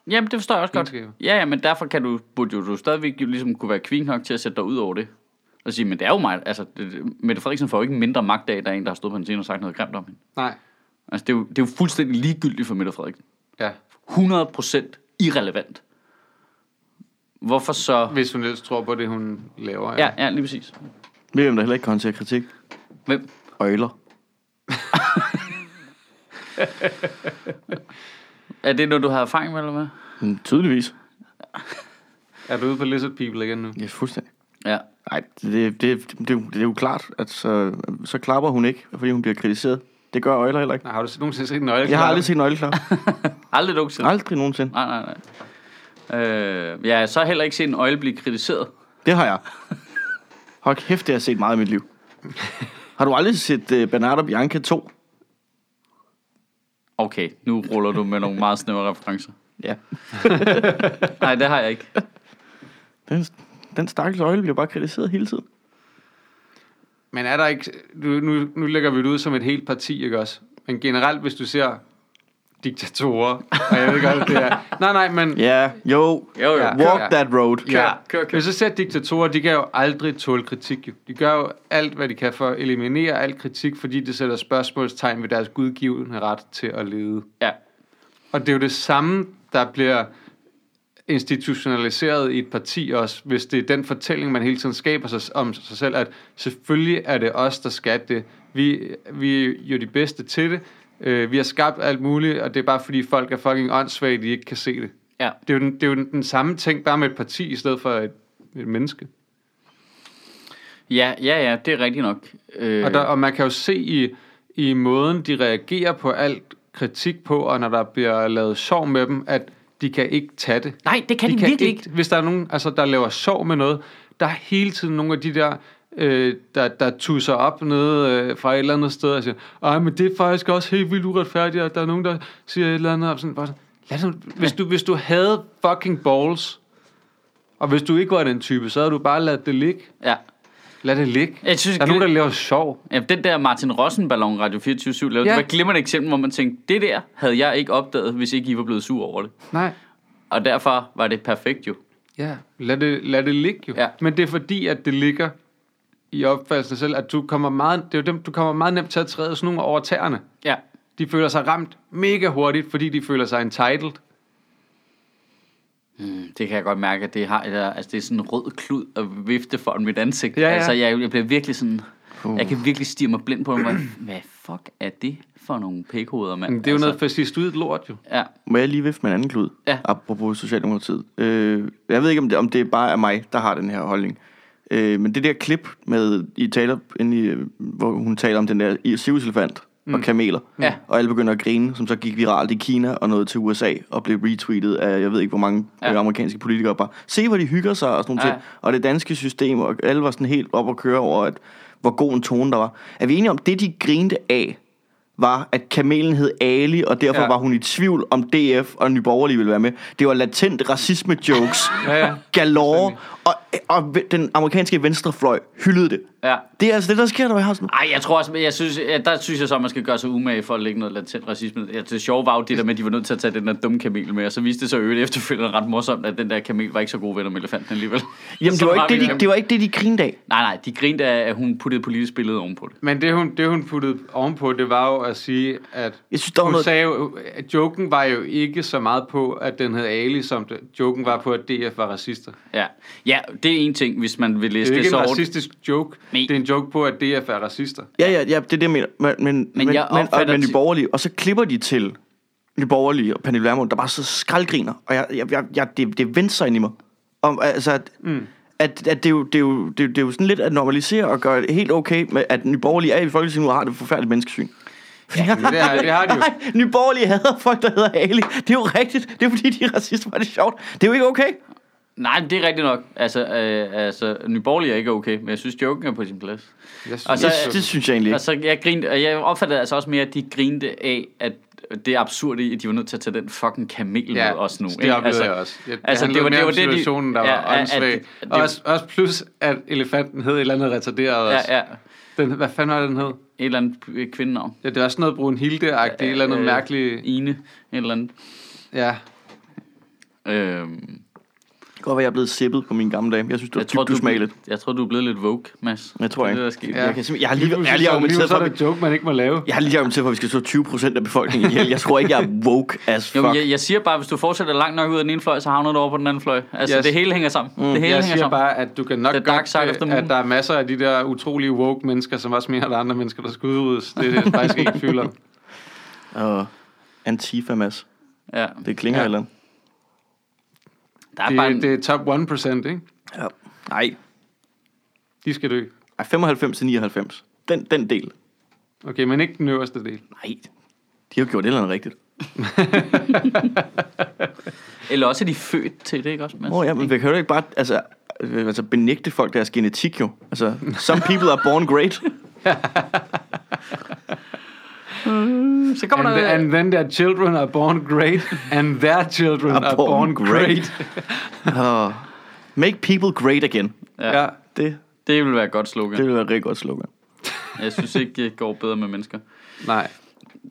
B: jamen, det forstår jeg også godt.
C: Egenskaber.
B: Ja, ja, men derfor kan du, burde jo du stadigvæk jo ligesom kunne være kvink nok til at sætte dig ud over det. Og sige, men det er jo mig. Altså, det- det, Mette Frederiksen får jo ikke mindre magt af, at der er en, der har stået på en scene og sagt noget grimt om hende.
C: Nej,
B: Altså, det er jo, det er jo fuldstændig ligegyldigt for Mette Frederiksen.
C: ja.
B: 100% irrelevant. Hvorfor så...
C: Hvis hun ellers tror på det, hun laver.
B: Ja, ja, lige præcis.
A: Ved I, hvem der heller ikke kan håndtere kritik?
B: Hvem?
A: Øjler.
B: Er det noget, du har erfaring med, eller hvad?
A: Mm, tydeligvis.
C: Er du ude på Lizard People igen nu?
A: Ja, fuldstændig.
B: Ja.
A: Nej, det, det, det, det, er jo- det er jo klart, at så, så klapper hun ikke, fordi hun bliver kritiseret. Det gør Øjler heller ikke.
C: Nej, har du nogensinde set en øje?
A: Jeg har aldrig set en Øjler klappe.
B: Aldrig nogensinde.
A: Aldrig nogensinde.
B: Nej, nej, nej. Øh, jeg har så heller ikke set en øje blive kritiseret.
A: Det har jeg. Hold kæft, det har jeg set meget i mit liv. Har du aldrig set uh, Bernardo Bianca 2?
B: Okay, nu ruller du med nogle meget snævre referencer.
A: Ja.
B: Nej, det har jeg ikke.
A: Den, den stakkels øjle bliver bare kritiseret hele tiden.
C: Men er der ikke... Du, nu, nu lægger vi det ud som et helt parti, ikke også? Men generelt, hvis du ser diktatorer, og jeg ved godt, det er...
B: [laughs]
C: Nej, nej, men...
A: Ja, jo.
B: Jo, jo.
C: Ja.
A: Walk that road.
B: Ja. kør, kør.
C: Hvis du ser diktatorer, de kan jo aldrig tåle kritik. Jo. De gør jo alt, hvad de kan for at eliminere al kritik, fordi det sætter spørgsmålstegn ved deres gudgivende ret til at lede.
B: Ja.
C: Og det er jo det samme, der bliver institutionaliseret i et parti også, hvis det er den fortælling, man hele tiden skaber sig om sig selv, at selvfølgelig er det os, der skal det. Vi, vi er jo de bedste til det. Øh, vi har skabt alt muligt, og det er bare fordi folk er fucking åndssvage, de ikke kan se det.
B: Ja.
C: Det er jo den, det er jo den, den samme ting, bare med et parti i stedet for et et menneske.
B: Ja, ja, ja, det er rigtigt nok. Øh,
C: Og, der, og man kan jo se i, i måden, de reagerer på alt kritik på, og når der bliver lavet sorg med dem, at de kan ikke tage det.
B: Nej, det kan de, virkelig ikke.
C: Hvis der er nogen, altså, der laver sorg med noget, der er hele tiden nogle af de der, øh, der, der tusser op nede øh, fra et eller andet sted og siger, ej, men det er faktisk også helt vildt uretfærdigt, at der er nogen, der siger et eller andet. Og sådan, bare sådan, lad dem, hvis, du, hvis du havde fucking balls, og hvis du ikke var den type, så havde du bare ladet det ligge.
B: Ja.
C: Lad det ligge.
B: Jeg synes,
C: der er nogen, der laver sjov.
B: Ja, den der Martin Rossen-ballon, Radio 24 lavede,
C: Ja.
B: ja. det var et glimrende eksempel, hvor man tænkte, det der havde jeg ikke opdaget, hvis ikke I var blevet sur over det.
C: Nej.
B: Og derfor var det perfekt jo.
C: Ja, lad det, lad det ligge jo.
B: Ja.
C: Men det er fordi, at det ligger i opfattelsen af selv, at du kommer meget, det er jo dem, du kommer meget nemt til at træde sådan nogle over tæerne.
B: Ja.
C: De føler sig ramt mega hurtigt, fordi de føler sig entitled.
B: Mm, Det kan jeg godt mærke, at det, har, eller, altså, det er sådan en rød klud at vifte foran mit ansigt.
C: Ja, ja.
B: Altså, jeg, jeg bliver virkelig sådan... Jeg kan virkelig stige mig blind på, hvad, hvad fuck er det for nogle pikhoveder, mand?
C: Men Mm, det er jo
B: altså,
C: noget fascist ud lort jo.
B: Ja,
A: Må jeg lige vifte med en anden klud?
B: Ja.
A: Apropos Socialdemokratiet. Øh, jeg ved ikke, om det, om det bare er mig, der har den her holdning. Øh, men det der klip med, I taler, inde i, øh, hvor hun taler om den der i- sivsilfant mm. og kameler.
B: Ja.
A: Og alle begynder at grine, som så gik viralt i Kina og noget til USA og blev retweetet af, jeg ved ikke, hvor mange
B: Ja.
A: ja. øh, amerikanske politikere. Bare, se, hvor de hygger sig og sådan noget.
B: Ja.
A: Ja. Og det danske system, og alle var sådan helt op og køre over, at, hvor god en tone der var. Er vi enige om, det de grinte af, var, at kamelen hed Ali, og derfor
C: Ja.
A: ja. var hun i tvivl om DF og Nye Borgerlige ville være med. Det var latent racisme-jokes
C: Ja, ja.
A: galore, og, og den amerikanske venstrefløj hyldede det.
B: ja.
A: Det er altså det, der sker, når jeg har sådan...
B: Ej, jeg tror også, jeg synes, ja, der synes jeg så, at man skal gøre sig umage for at lægge noget latent racisme. Ja, det sjove var jo det der med, at de var nødt til at tage den der dumme kamel med, og så viste det sig øvrigt efterfølgende ret morsomt, at den der kamel var ikke så god venner med elefanten alligevel.
A: Jamen,
B: [laughs] Så
A: det var,
B: har
A: ikke
B: vi
A: det, de,
B: dem.
A: det var ikke det, de grinede af.
B: Nej, nej, de grinte af, at hun puttede politisk billede ovenpå det.
C: Men det hun, det, hun puttede ovenpå, det var jo at sige, at
A: Jeg synes, der var
C: hun
A: noget-
C: sagde jo, at joken var jo ikke så meget på, at den hed Ali, som det, joken var på, at DF var racister.
B: Ja. ja, det er en ting, hvis man vil læse
C: Det er
B: det,
C: ikke
B: så
C: en
B: over-
C: racistisk joke.
B: Nej.
C: Det er en joke på, at DF er racister.
A: Ja, ja, ja, det er det, jeg mener. Men, men, men,
B: jeg
A: men, og,
B: opfatter
A: men
B: til-
A: Nye Borgerlige, og så klipper de til Nye Borgerlige og Pernille Vermund, der bare så skraldgriner, og jeg, jeg, jeg, jeg, det, det vendte sig ind i mig. Om, altså, at, mm. at, at det, er jo, det, er jo, det, er jo, det er jo sådan lidt at normalisere og gøre det helt okay, med, at Nye Borgerlige er i Folketinget nu og har det forfærdelige menneskesyn. Ja,
C: det har- det har de jo.
A: [laughs] Nej, Nye Borgerlige hader folk, der hedder Ali. Det er jo rigtigt. Det er fordi, de er racister, var det sjovt. Det er jo ikke okay.
B: Nej, men det er rigtigt nok. Altså, øh, altså Nyborgerlig er ikke okay, men jeg synes, joken er på sin plads.
C: Jeg synes,
B: Og så-
A: Så, det, det synes jeg egentlig ikke.
B: Altså, jeg, grinte, og jeg opfattede altså også mere, at de grinte af, at det er absurd i, at de var nødt til at tage den fucking kamel med os nu.
C: Det
B: ikke?
C: oplevede
B: altså,
C: jeg også. Jeg,
B: altså, det var, det var det, de-
C: situationen, der
B: ja,
C: var
B: at- at-
C: åndssvag.
B: at- det-
C: Også, også plus, at elefanten hed et eller andet retarderet også.
B: Ja, ja.
C: Den, hvad fanden var den hed?
B: Et eller andet øh, kvindenavn.
C: Ja, det var sådan noget brun hilde-agtigt, et eller andet
B: Øh,
C: mærkeligt.
B: Ine, et eller andet.
C: Ja.
B: Øhm,
A: Det kan godt være, jeg er blevet sippet på mine gamle dage. Jeg synes, det var
B: jeg, tror,
A: dybt
B: du,
A: usmageligt.
B: jeg tror, du er blevet lidt woke, Mads.
A: Jeg tror
B: Det er
A: ikke.
B: Det, der skete.
A: Jeg, kan simpelthen- jeg har lige, jeg har lige
C: argumenteret
A: argumenteret
C: for
A: for,
C: det. er en joke, man ikke må lave.
A: Jeg har lige argumenteret for, at vi skal slå 20% af befolkningen ihjel. Jeg tror ikke, jeg er woke as
B: Jo,
A: fuck.
B: men jeg, jeg siger bare, hvis du fortsætter langt nok ud af den ene fløj, så havner du over på den anden fløj. Altså,
C: Yes.
B: yes. det hele hænger sammen. Mm. Det hele
C: Jeg
B: hænger
C: siger
B: sammen.
C: bare, at du kan nok
B: The dark side of the
C: godt, øh,
B: moon.
C: at der er masser af de der utrolige woke mennesker, som også mener, at der er andre mennesker, der skal udryddes. Det er det, jeg faktisk ikke i tvivl om.
A: Og Antifa, Mads.
B: Ja.
A: Det klinger
C: Ja.
A: ja. eller andet.
B: Der er bare en,
C: Det, det er top 1%, ikke?
A: Ja. Nej.
C: De skal dø.
A: Ej, 95 til 99. Den, den del.
C: Okay, men ikke den øverste del.
A: Nej. De har jo gjort et eller andet rigtigt.
B: Eller også er de født til det, ikke også, Mads?
A: Åh oh, ja, men vi kan jo ikke bare altså, øh, altså, benægte folk deres genetik jo. Altså, some people are born [laughs] great.
B: Så kommer
C: And,
B: der...
C: the, and then their children are born great, and their children are,
A: Are
C: born,
A: born
C: great.
A: Og make people great again.
B: Ja.
C: ja.
A: Det,
B: Det vil være et godt slogan.
A: det ville være et rigtig godt slogan.
B: Jeg synes ikke, det går bedre med mennesker.
C: Nej.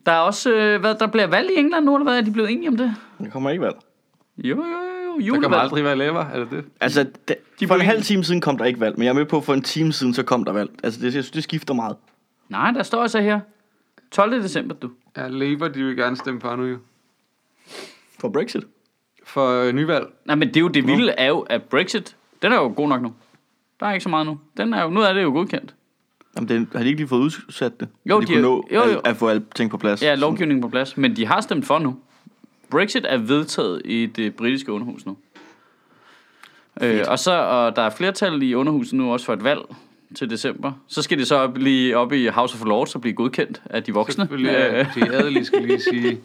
B: Der er også... Øh, hvad, der bliver valg i England nu, eller hvad? Er de blevet enige om det?
A: Det kommer ikke valg.
B: Jo, jo, jo.
C: Der
B: Julevalg.
C: kommer aldrig være laver, er det det?
A: Altså, de, de for en halv time siden kom der ikke valg, men jeg er med på, at for en time siden, så kom der valg. Altså, det, jeg synes, det skifter meget.
B: Nej, der står altså her. 12. december, du.
C: Ja, Labour, de vil gerne stemme på nu jo.
A: For Brexit.
C: For øh, nyvalg.
B: Nej, men det er jo det vilde er jo, at Brexit, den er jo god nok nu. Der er ikke så meget nu. Den er jo, nu er det jo godkendt.
A: Jamen, det, har de ikke lige fået udsat det?
B: Jo,
A: Så de,
B: de
A: kunne
B: har-
A: nå
B: jo,
A: at-
B: jo.
A: At, få alt ting på plads.
B: Ja, lovgivningen på plads. Men de har stemt for nu. Brexit er vedtaget i det britiske underhus nu. Øh, og så, og der er flertal i underhuset nu også for et valg til december. Så skal det så op, lige op i House of Lords og blive godkendt af de voksne.
C: Selvfølgelig, ja, de adelige skal lige sige.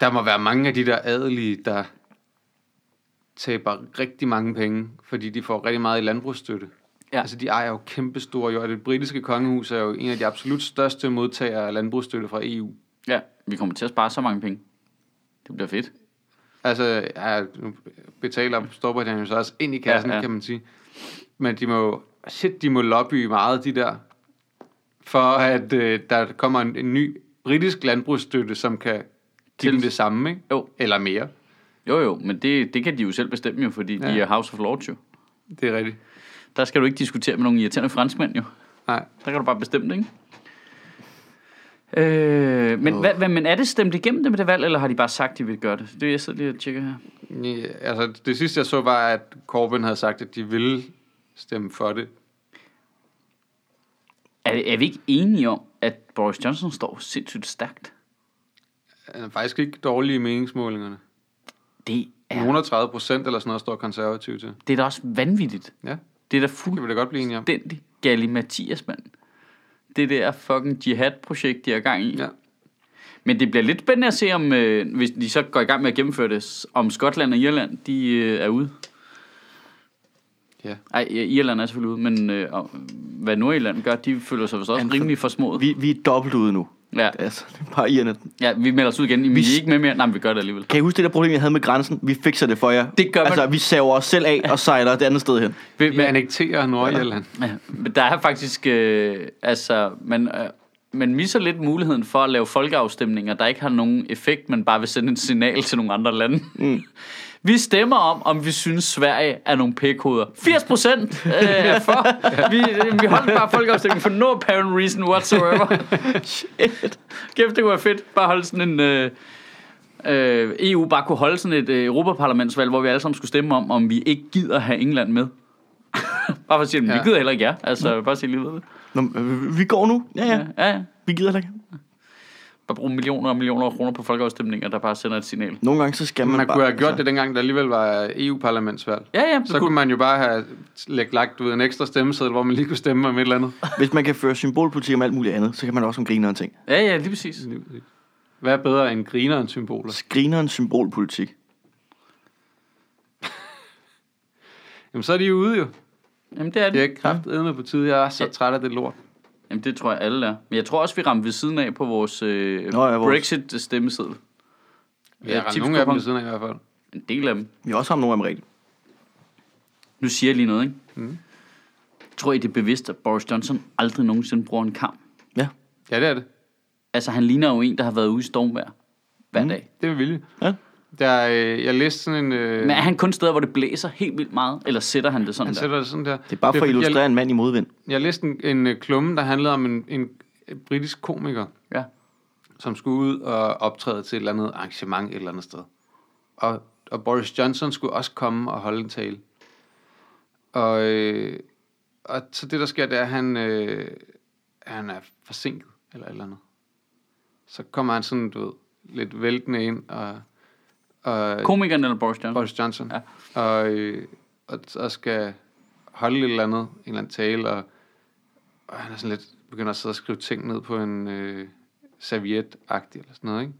C: Der må være mange af de der adelige, der taber rigtig mange penge, fordi de får rigtig meget i landbrugsstøtte.
B: Ja.
C: Ja. Altså, de ejer jo kæmpe store jord. Det britiske kongehus er jo en af de absolut største modtagere af landbrugsstøtte fra E EU.
B: [laughs] ja, vi kommer til at spare så mange penge. Det bliver fedt.
C: Altså, ja, nu betaler Storbritannien jo så også ind i kassen,
B: Ja, ja.
C: ja, ja. kan man sige. Men de må shit, de må lobby meget, de der, for at øh, der kommer en, en ny britisk landbrugsstøtte, som kan give
B: Til-
C: dem det samme, ikke?
B: Jo.
C: Eller mere.
B: Jo jo, men det, det kan de jo selv bestemme jo, fordi ja. de
C: Ja.
B: er House of Lords jo.
C: Det er rigtigt.
B: Der skal du ikke diskutere med nogle irriterende franskmænd jo.
C: Nej.
B: Der kan du bare bestemme det, ikke? Øh, men, hvad, hvad, men er det stemt igennem det med det valg, eller har de bare sagt, de vil gøre det? Det er jeg sidder lige og tjekker her.
C: Ja, altså, det sidste jeg så var, at Corbyn havde sagt, at de ville stemme for det.
B: Er, det- er vi ikke enige om, at Boris Johnson står sindssygt stærkt?
C: Han er Øh, faktisk ikke dårlige i meningsmålingerne.
B: Det er,
C: 130 procent eller sådan noget står konservativt til.
B: det er da også vanvittigt.
C: Ja,
B: Det er da
C: det vil
B: fuldstændig
C: det godt blive enige om.
B: Galli Mathias, mand. Det der fucking jihad-projekt, de er i gang i.
C: Ja.
B: Men det bliver lidt spændende at se, om øh, hvis de så går i gang med at gennemføre det, s- om Skotland og Irland, de øh, er ude.
C: Ja.
B: Ej, ja, Irland er selvfølgelig ude, men øh, og, hvad Nordirland gør, de føler sig vist også
A: Anfor-
B: rimelig for små.
A: Vi, vi er dobbelt ude nu.
B: Ja,
A: Altså, det er bare irerne.
B: ja, vi melder os ud igen. Vi
A: s-
B: er ikke med mere. Nej, men vi gør det alligevel.
A: Kan I huske det der problem, jeg havde med grænsen? Vi fikser det for jer.
B: Det gør man.
A: Altså, vi saver os selv af og sejler det andet sted hen.
B: Vi,
C: Vi
B: men,
C: annekterer Nordjylland.
B: ja, men der er faktisk, øh, altså, man, øh, man misser lidt muligheden for at lave folkeafstemninger, der ikke har nogen effekt, men bare vil sende et signal til nogle andre lande. Mm. Vi stemmer om, om vi synes, Sverige er nogle pækhoveder. 80 procent øh, for. Vi, vi holdt bare folkeafstemning for no apparent reason whatsoever. Shit. Kæft, det kunne være fedt. Bare holde sådan en... Øh, øh, EU bare kunne holde sådan et øh, europaparlamentsvalg, hvor vi alle sammen skulle stemme om, om vi ikke gider have England med. [laughs] bare for at sige, at vi
C: Ja. Mm.
B: gider heller ikke jer. Altså, bare sige lige ved det.
A: Nå, øh, vi går nu. Ja, ja. ja.
B: Ja, ja.
A: Vi gider heller ikke.
B: Bare bruge millioner og millioner af kroner på folkeafstemninger, der bare sender et signal.
A: Nogle gange så skal man,
C: Man
A: bare... altså-
C: kunne have gjort det dengang, der alligevel var EU-parlamentsvalg.
B: Ja, ja,
C: Så kunne man jo bare have læg- lagt du ved, en ekstra stemmeseddel, hvor man lige kunne stemme om et eller andet.
A: Hvis man kan føre symbolpolitik om alt muligt andet, så kan man også om grineren ting.
B: Ja, ja, lige præcis.
C: Hvad er bedre end griner end symboler?
A: Grineren symbolpolitik.
C: Jamen, så er de jo ude jo.
B: Jamen, det er det.
C: Det er ikke kraftedeme på tide. Jeg er så træt af det lort.
B: Jamen, det tror jeg alle er. Men jeg tror også, vi ramte ved siden af på vores, øh,
A: Nå ja, vores-
B: Brexit-stemmeseddel.
C: Jeg har ramt
B: tips
C: nogle af dem
B: kupon.
C: ved siden af i hvert fald.
B: En del af dem.
A: Vi har også ham nogle af dem rigtigt.
B: Nu siger jeg lige noget, ikke? Mm. Tror I, det er bevidst, at Boris Johnson aldrig nogensinde bruger en kamp?
A: Ja.
C: Ja, det er det.
B: Altså, han ligner jo en, der har været ude i stormvejr hver mm. dag.
C: Det er med vilje.
A: ja.
C: Der, øh, jeg læste sådan en... Øh,
B: Men er han kun steder, hvor det blæser helt vildt meget? Eller sætter han det sådan
C: han
B: der?
C: sætter det sådan der.
A: Det er bare for at
C: fordi,
A: illustrere
C: Jeg,
A: en mand i modvind.
C: jeg læste en, en øh, klumme, der handlede om en, en øh, britisk komiker,
B: Ja.
C: som skulle ud og optræde til et eller andet arrangement et eller andet sted. Og, og Boris Johnson skulle også komme og holde en tale. Og, øh, og så det, der sker, det er, at han, øh, han er forsinket eller et eller andet. Så kommer han sådan, du ved, lidt væltende ind, og, og
B: Komikeren eller Boris Johnson?
C: Boris Johnson, ja. og, øh, og, og skal holde et eller andet, en eller anden tale, og, og han er sådan lidt, begynder at sidde og skrive ting ned på en øh, serviet eller sådan noget, ikke?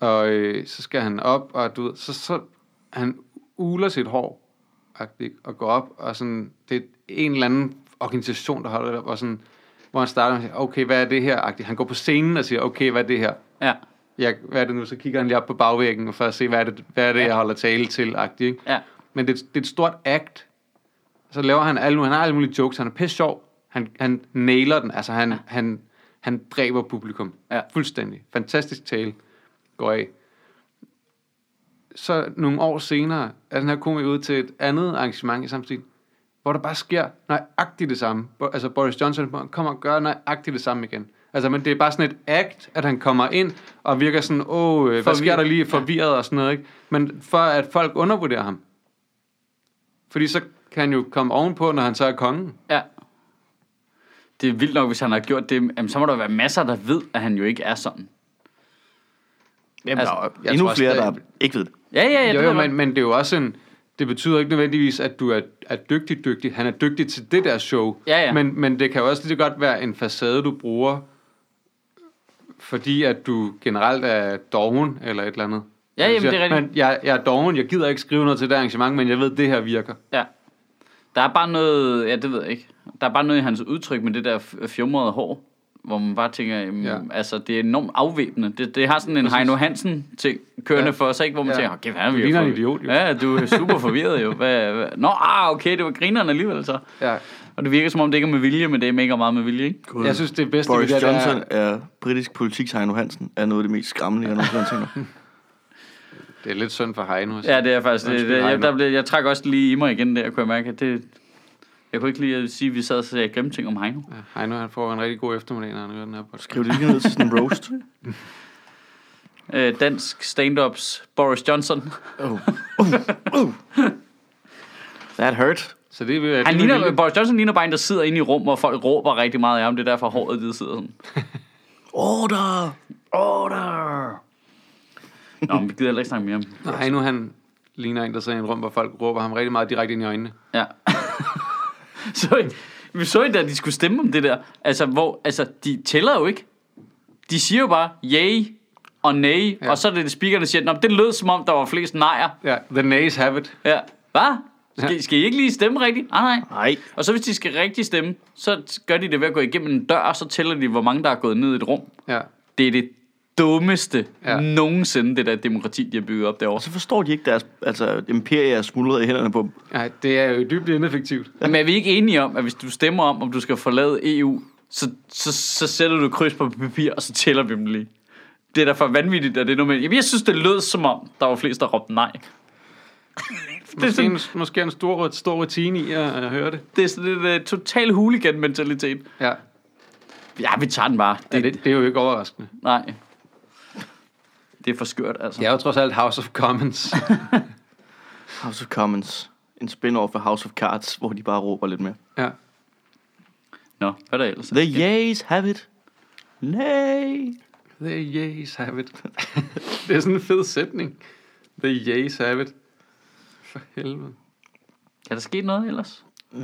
C: Og øh, så skal han op, og du ved, så, så han uler sit hår, agtigt, og går op, og sådan, det er en eller anden organisation, der holder det op, og sådan, hvor han starter med at sige, okay, hvad er det her, agtigt. Han går på scenen og siger, okay, hvad er det her?
B: Ja.
C: jeg, hvad er det nu, så kigger han lige op på bagvæggen for at se, hvad er det, hvad er det jeg holder tale til, agtig, ikke?
B: Ja.
C: Men det, er- det er et stort act. Så laver han alle, han har alle mulige jokes, han er pisse sjov. Han, han nailer den, altså han, ja. han, han dræber publikum.
B: Ja.
C: Fuldstændig. Fantastisk tale. Går af. Så nogle år senere er den her komiker ud til et andet arrangement i samtidig, hvor der bare sker nøjagtigt det samme. Bo- Altså Boris Johnson kommer og gør nøjagtigt det samme igen. Altså, men det er bare sådan et act, at han kommer ind og virker sådan, åh, øh, hvad sker
B: Forvirret.
C: der lige, forvirret og sådan noget, ikke? Men for at folk undervurderer ham. Fordi så kan han jo komme ovenpå, når han så er kongen.
B: ja. Det er vildt nok, hvis han har gjort det. Jamen, så må der være masser, der ved, at han jo ikke er sådan.
A: Jamen,
B: Altså,
A: altså, der er
C: jeg
A: endnu
C: tror også,
A: flere,
C: det-
A: der ikke ved det.
B: Ja, ja, ja.
C: jo,
B: det
C: jo,
B: ved jeg
C: men, men det er jo også en, det betyder ikke nødvendigvis, at du er, er dygtig, dygtig. Han er dygtig til det der show.
B: Ja, ja.
C: Men, men det kan jo også lige så godt være en facade, du bruger, fordi at du generelt er doven eller et eller andet.
B: Ja, jamen,
C: Du siger,
B: det er rigtigt.
C: Men jeg, jeg er doven, jeg gider ikke skrive noget til det arrangement, men jeg ved, det her virker.
B: Ja. Der er bare noget, ja, det ved jeg ikke. Der er bare noget i hans udtryk med det der f- fjumrede hår, hvor man bare tænker, jamen, ja.
C: Ja.
B: altså, det er enormt afvæbnende. Det, det har sådan en Heino Hansen-ting kørende ja.
C: Ja.
B: for os, ikke? Hvor man ja.
C: Ja.
B: tænker, okay, hvad er
C: Du
B: vi
C: ligner en
B: forvirret?"
C: idiot, jo.
B: Ja, du er
C: [laughs]
B: super forvirret jo. Hvad, hvad? Nå, ah, okay, det var grineren alligevel så.
C: Ja.
B: Og det virker som om, det ikke er med vilje, men det er mega meget med vilje, ikke?
A: God.
C: Jeg synes, det bedste
A: Boris
C: ved det, der
A: Johnson er... er britisk politik, Heino Hansen, er noget af det mest skræmmende, jeg nogensinde har tænkt mig.
C: Det er lidt synd for Heino.
B: Ja, det er faktisk det.
C: Undskyld,
B: det jeg,
C: Heino.
B: der blev, jeg trak også lige i mig igen der, kunne jeg mærke. at Det, jeg kunne ikke lige at sige, at vi sad og sagde grimme ting om Heino.
C: Ja, Heino, han får en rigtig god eftermiddag, når han hører den her podcast.
A: Skriv det lige ned til sådan en roast.
B: Øh, dansk stand-ups Boris
A: [laughs]
B: Johnson.
A: Oh. Uh. Uh. That hurt.
C: Så det, er- det,
B: Han
C: er
B: ligner,
C: vildt.
B: Boris Johnson ligner bare en, der sidder inde i rum, hvor folk råber rigtig meget af ham. Det er derfor håret det sidder sådan.
A: Order! Order!
B: Nå, men vi gider heller ikke snakke mere om det.
C: Heino, han ligner en, der sidder i en rum, hvor folk råber ham rigtig meget direkte ind i øjnene.
B: Ja. [laughs] så, I- vi så I da, de skulle stemme om det der. Altså, hvor, altså, de tæller jo ikke. De siger jo bare, yay og nej. Ja.
C: Ja.
B: Og så er det speakerne, der siger, Nå, men det lød som om, der var flest nejer.
C: Ja, the nays have it.
B: Ja. Hvad? Skal, skal I ikke lige stemme rigtigt? Ah, nej.
A: Nej.
B: Og så hvis de skal rigtig stemme, så gør de det ved at gå igennem en dør, og så tæller de, hvor mange der er gået ned i et rum.
C: Ja.
B: Det er det dummeste ja.
C: Ja.
B: nogensinde, det der demokrati, de har bygget op derovre.
A: Så forstår de ikke, deres altså, imperie er smuldret i hænderne på dem.
C: Nej, det er jo dybt ineffektivt.
B: Men er vi ikke enige om, at hvis du stemmer om, om du skal forlade EU, så, så, så sætter du et kryds på papir, og så tæller vi dem lige. Det er da for vanvittigt, at det er normalt. Jamen, jeg synes, det lød som om, der var flest, der råbte nej. det, er
C: Måske
B: sådan,
C: en, måske en stor, stor rutine i at, at høre det.
B: det er sådan en uh, total hooligan-mentalitet.
C: Ja.
B: Ja, vi tager den bare. Det,
C: ja det, det er jo ikke overraskende.
B: Nej. Det er for skørt, altså.
C: Det er jo trods alt House of Commons.
A: House of Commons. En spin-off af House of Cards, hvor de bare råber lidt mere.
C: [laughs] ja.
B: Nå, hvad er der ellers?
A: The yeas have it. Nej.
C: The yeas have it. det er sådan en fed sætning. The yeas have it. For helvede.
B: Kan der ske noget ellers?
A: Øh,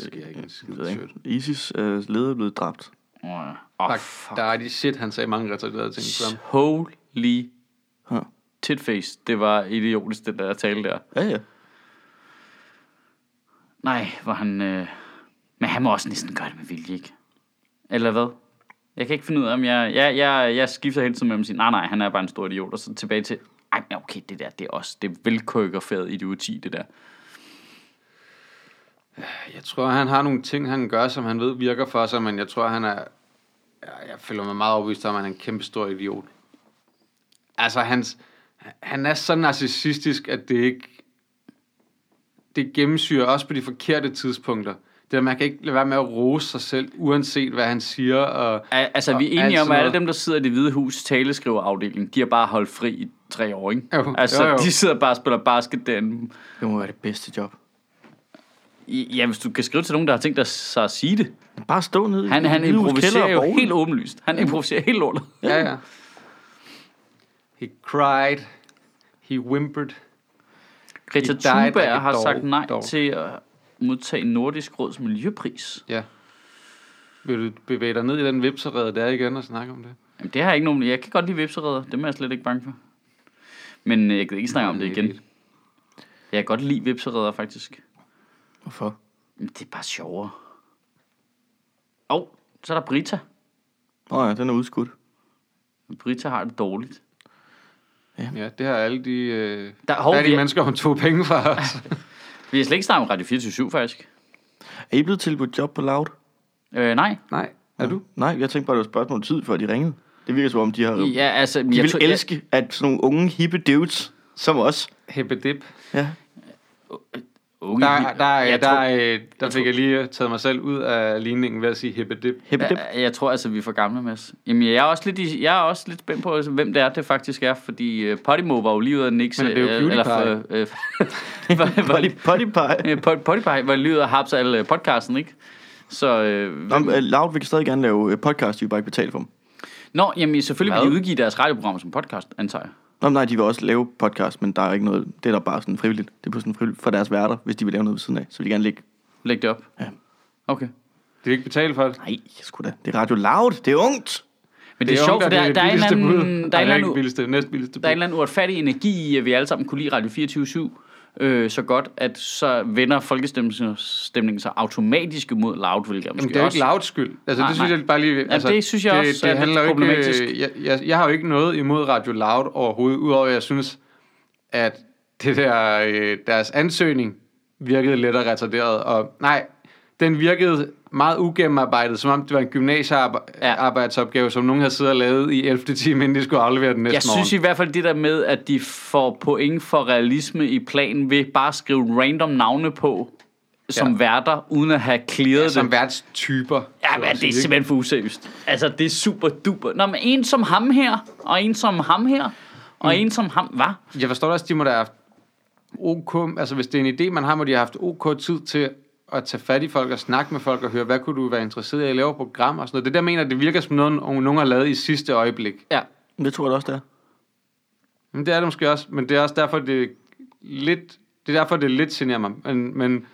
C: sker ikke en skid
A: jeg ved ikke.
C: sødt.
A: ISIS øh, leder er blevet dræbt.
B: Åh,
C: Oh,
B: oh,
C: fuck. Der er de shit, han sagde mange retarderede ting til ham.
B: Holy
A: Huh.
B: titface. Det var idiotisk, det der tale der.
A: Ja, ja.
B: Nej, var han... Øh... Men han må også næsten gøre det med vilje, ikke? Eller hvad? Jeg kan ikke finde ud af, om jeg... Jeg, jeg, jeg skifter hele tiden mellem at sige, nej, nej, han er bare en stor idiot, og så tilbage til, ej, men okay, det der, det er også, det er velkøkkerfæret idioti, det der.
C: Jeg tror, han har nogle ting, han gør, som han ved virker for sig, men jeg tror, han er... Jeg, jeg føler mig meget overbevist om, at han er en kæmpe stor idiot. Altså, hans, han er så narcissistisk, at det ikke... Det gennemsyrer også på de forkerte tidspunkter. Det der, man kan ikke lade være med at rose sig selv, uanset hvad han siger. Og,
B: Al- Altså,
C: Og
B: vi er
C: alt
B: enige om, at
C: sådan
B: alle
C: noget.
B: dem, der sidder i det hvide hus taleskriverafdeling, de har bare holdt fri i tre år, ikke?
C: Jo,
B: altså,
C: jo, jo.
B: de sidder bare og spiller basket derinde.
A: Det må være det bedste job.
B: I- Ja, hvis du kan skrive til nogen, der har tænkt sig at sige det.
A: Bare stå nede
B: Han,
A: i
B: han
A: Hvidehus kælder
B: improviserer
A: og
B: jo
A: bowle.
B: helt åbenlyst. Han improviserer helt lortet.
C: ja, ja. He cried. He whimpered.
B: Greta
C: I dig, der
B: Thunberg
C: kan
B: har
C: dog-
B: sagt nej
C: dog.
B: til at modtage Nordisk Råds miljøpris.
C: Ja. Vil du bevæge dig ned i den vipserede der igen og snakke om det?
B: Jamen, det har jeg ikke nogen... Jeg kan godt lide vipserødder. Dem er jeg slet ikke bange for. Men øh, jeg gider ikke snakke om det igen. Jeg kan godt lide vipserødder, faktisk.
A: Hvorfor?
B: Men det er bare sjovere. Og oh, så er der Brita.
A: Nå ja, den er udskudt.
B: Brita har det dårligt.
C: Ja, det har alle de... Øh,
B: Der, hov,
C: Hvad er
B: vi,
C: de
B: er,
C: mennesker, hun tog penge fra os?
B: vi har slet ikke snakket om Radio 24 faktisk.
A: Er I blevet tilbudt job på Loud?
B: Øh, [laughs] nej.
C: Nej. Er du?
A: Nej, jeg tænkte bare, det var et spørgsmål om tid, før de ringede. Det virker som om, de har... De
B: Ja, altså, de
A: vil elske, at sådan nogle unge, hippe dudes som os...
C: Hebbedip.
A: Ja.
B: Unge,
C: Der, der,
B: jeg
C: jeg der,
B: tror-
C: der, der fik jeg lige taget mig selv ud af ligningen ved at sige hebbedip.
A: Hippe dip.
B: Jeg, jeg tror altså, vi er for gamle, Mads. Jamen, jeg er også lidt, i- jeg er også lidt spændt på, altså, hvem det er, det faktisk er, fordi uh, Podimo var jo lige ude at nikse...
C: Men det er jo
B: øh,
C: PewDiePie.
B: Eller, øh, [laughs] var, var,
A: Potty, potty pie.
B: øh, Pod- Podipie var lige ude at hapse alle øh, podcasten, ikke? Så, øh,
A: Nå, men, øh, Loud vil stadig gerne lave øh, podcast, vi vil bare ikke betale for dem.
B: nå, jamen selvfølgelig vil de
C: Hvad?
B: udgive deres radioprogrammer som podcast, antager jeg.
A: Nå, men nej, de vil også lave podcast, men der er ikke noget, det er der bare sådan frivilligt. Det er på sådan frivilligt for deres værter, hvis de vil lave noget ved siden af. Så vil de gerne ligge.
B: Læg det op.
A: Ja.
B: Okay.
C: De vil ikke betale for det.
A: Nej, sgu da. Det er Radio Loud, det er ungt.
B: Men det, er sjovt, for der, der, er en eller anden, der, er en
C: der er
B: eller
C: ikke
B: anden,
C: billigste, næst billigste
B: der er en
C: bud.
B: eller anden uretfærdig energi i, at vi alle sammen kunne lide Radio 24-7 øh, så godt, at så vender folkestemningen sig automatisk imod loud, hvilket jeg måske
C: Jamen, det er jo ikke
B: også...
C: lavt skyld. Altså,
B: Nej,
C: det synes
B: nej.
C: jeg bare lige... Altså,
B: det synes jeg også er lidt
C: handler jo ikke,
B: problematisk.
C: øh, Jeg, jeg, jeg har jo ikke noget imod Radio Loud overhovedet, udover at jeg synes, at det der, øh, deres ansøgning virkede lidt og retarderet. Og nej, den virkede meget ugennemarbejdet, som om det var en
B: Ja.
C: gymnasiearbejdsopgave, som nogen havde siddet og lavet i 11. time, inden de skulle aflevere den næste
B: Jeg
C: morgen.
B: synes i hvert fald det der med, at de får point for realisme i planen ved bare at skrive random navne på som
C: Ja.
B: ja. værter, uden at have clearet
C: ja, som
B: dem.
C: værtstyper.
B: Ja,
C: så at
B: men det
C: sige,
B: er
C: ikke?
B: simpelthen for useriøst. Altså, det er super duper. Nå, men en som ham her, og en som ham her, og mm. en som ham, hvad?
C: Jeg forstår da også, de må da have haft OK, altså hvis det er en idé, man har, må de have haft OK tid til at tage fat i folk og snakke med folk og høre, hvad kunne du være interesseret i at lave program og sådan noget. Det der mener, jeg, det virker som noget, nogen har lavet i sidste øjeblik.
B: Ja.
A: Men Det tror jeg da også, det er.
C: Men det er det måske også, men det er også derfor, det er lidt, det er derfor, det er lidt generer mig. Men, men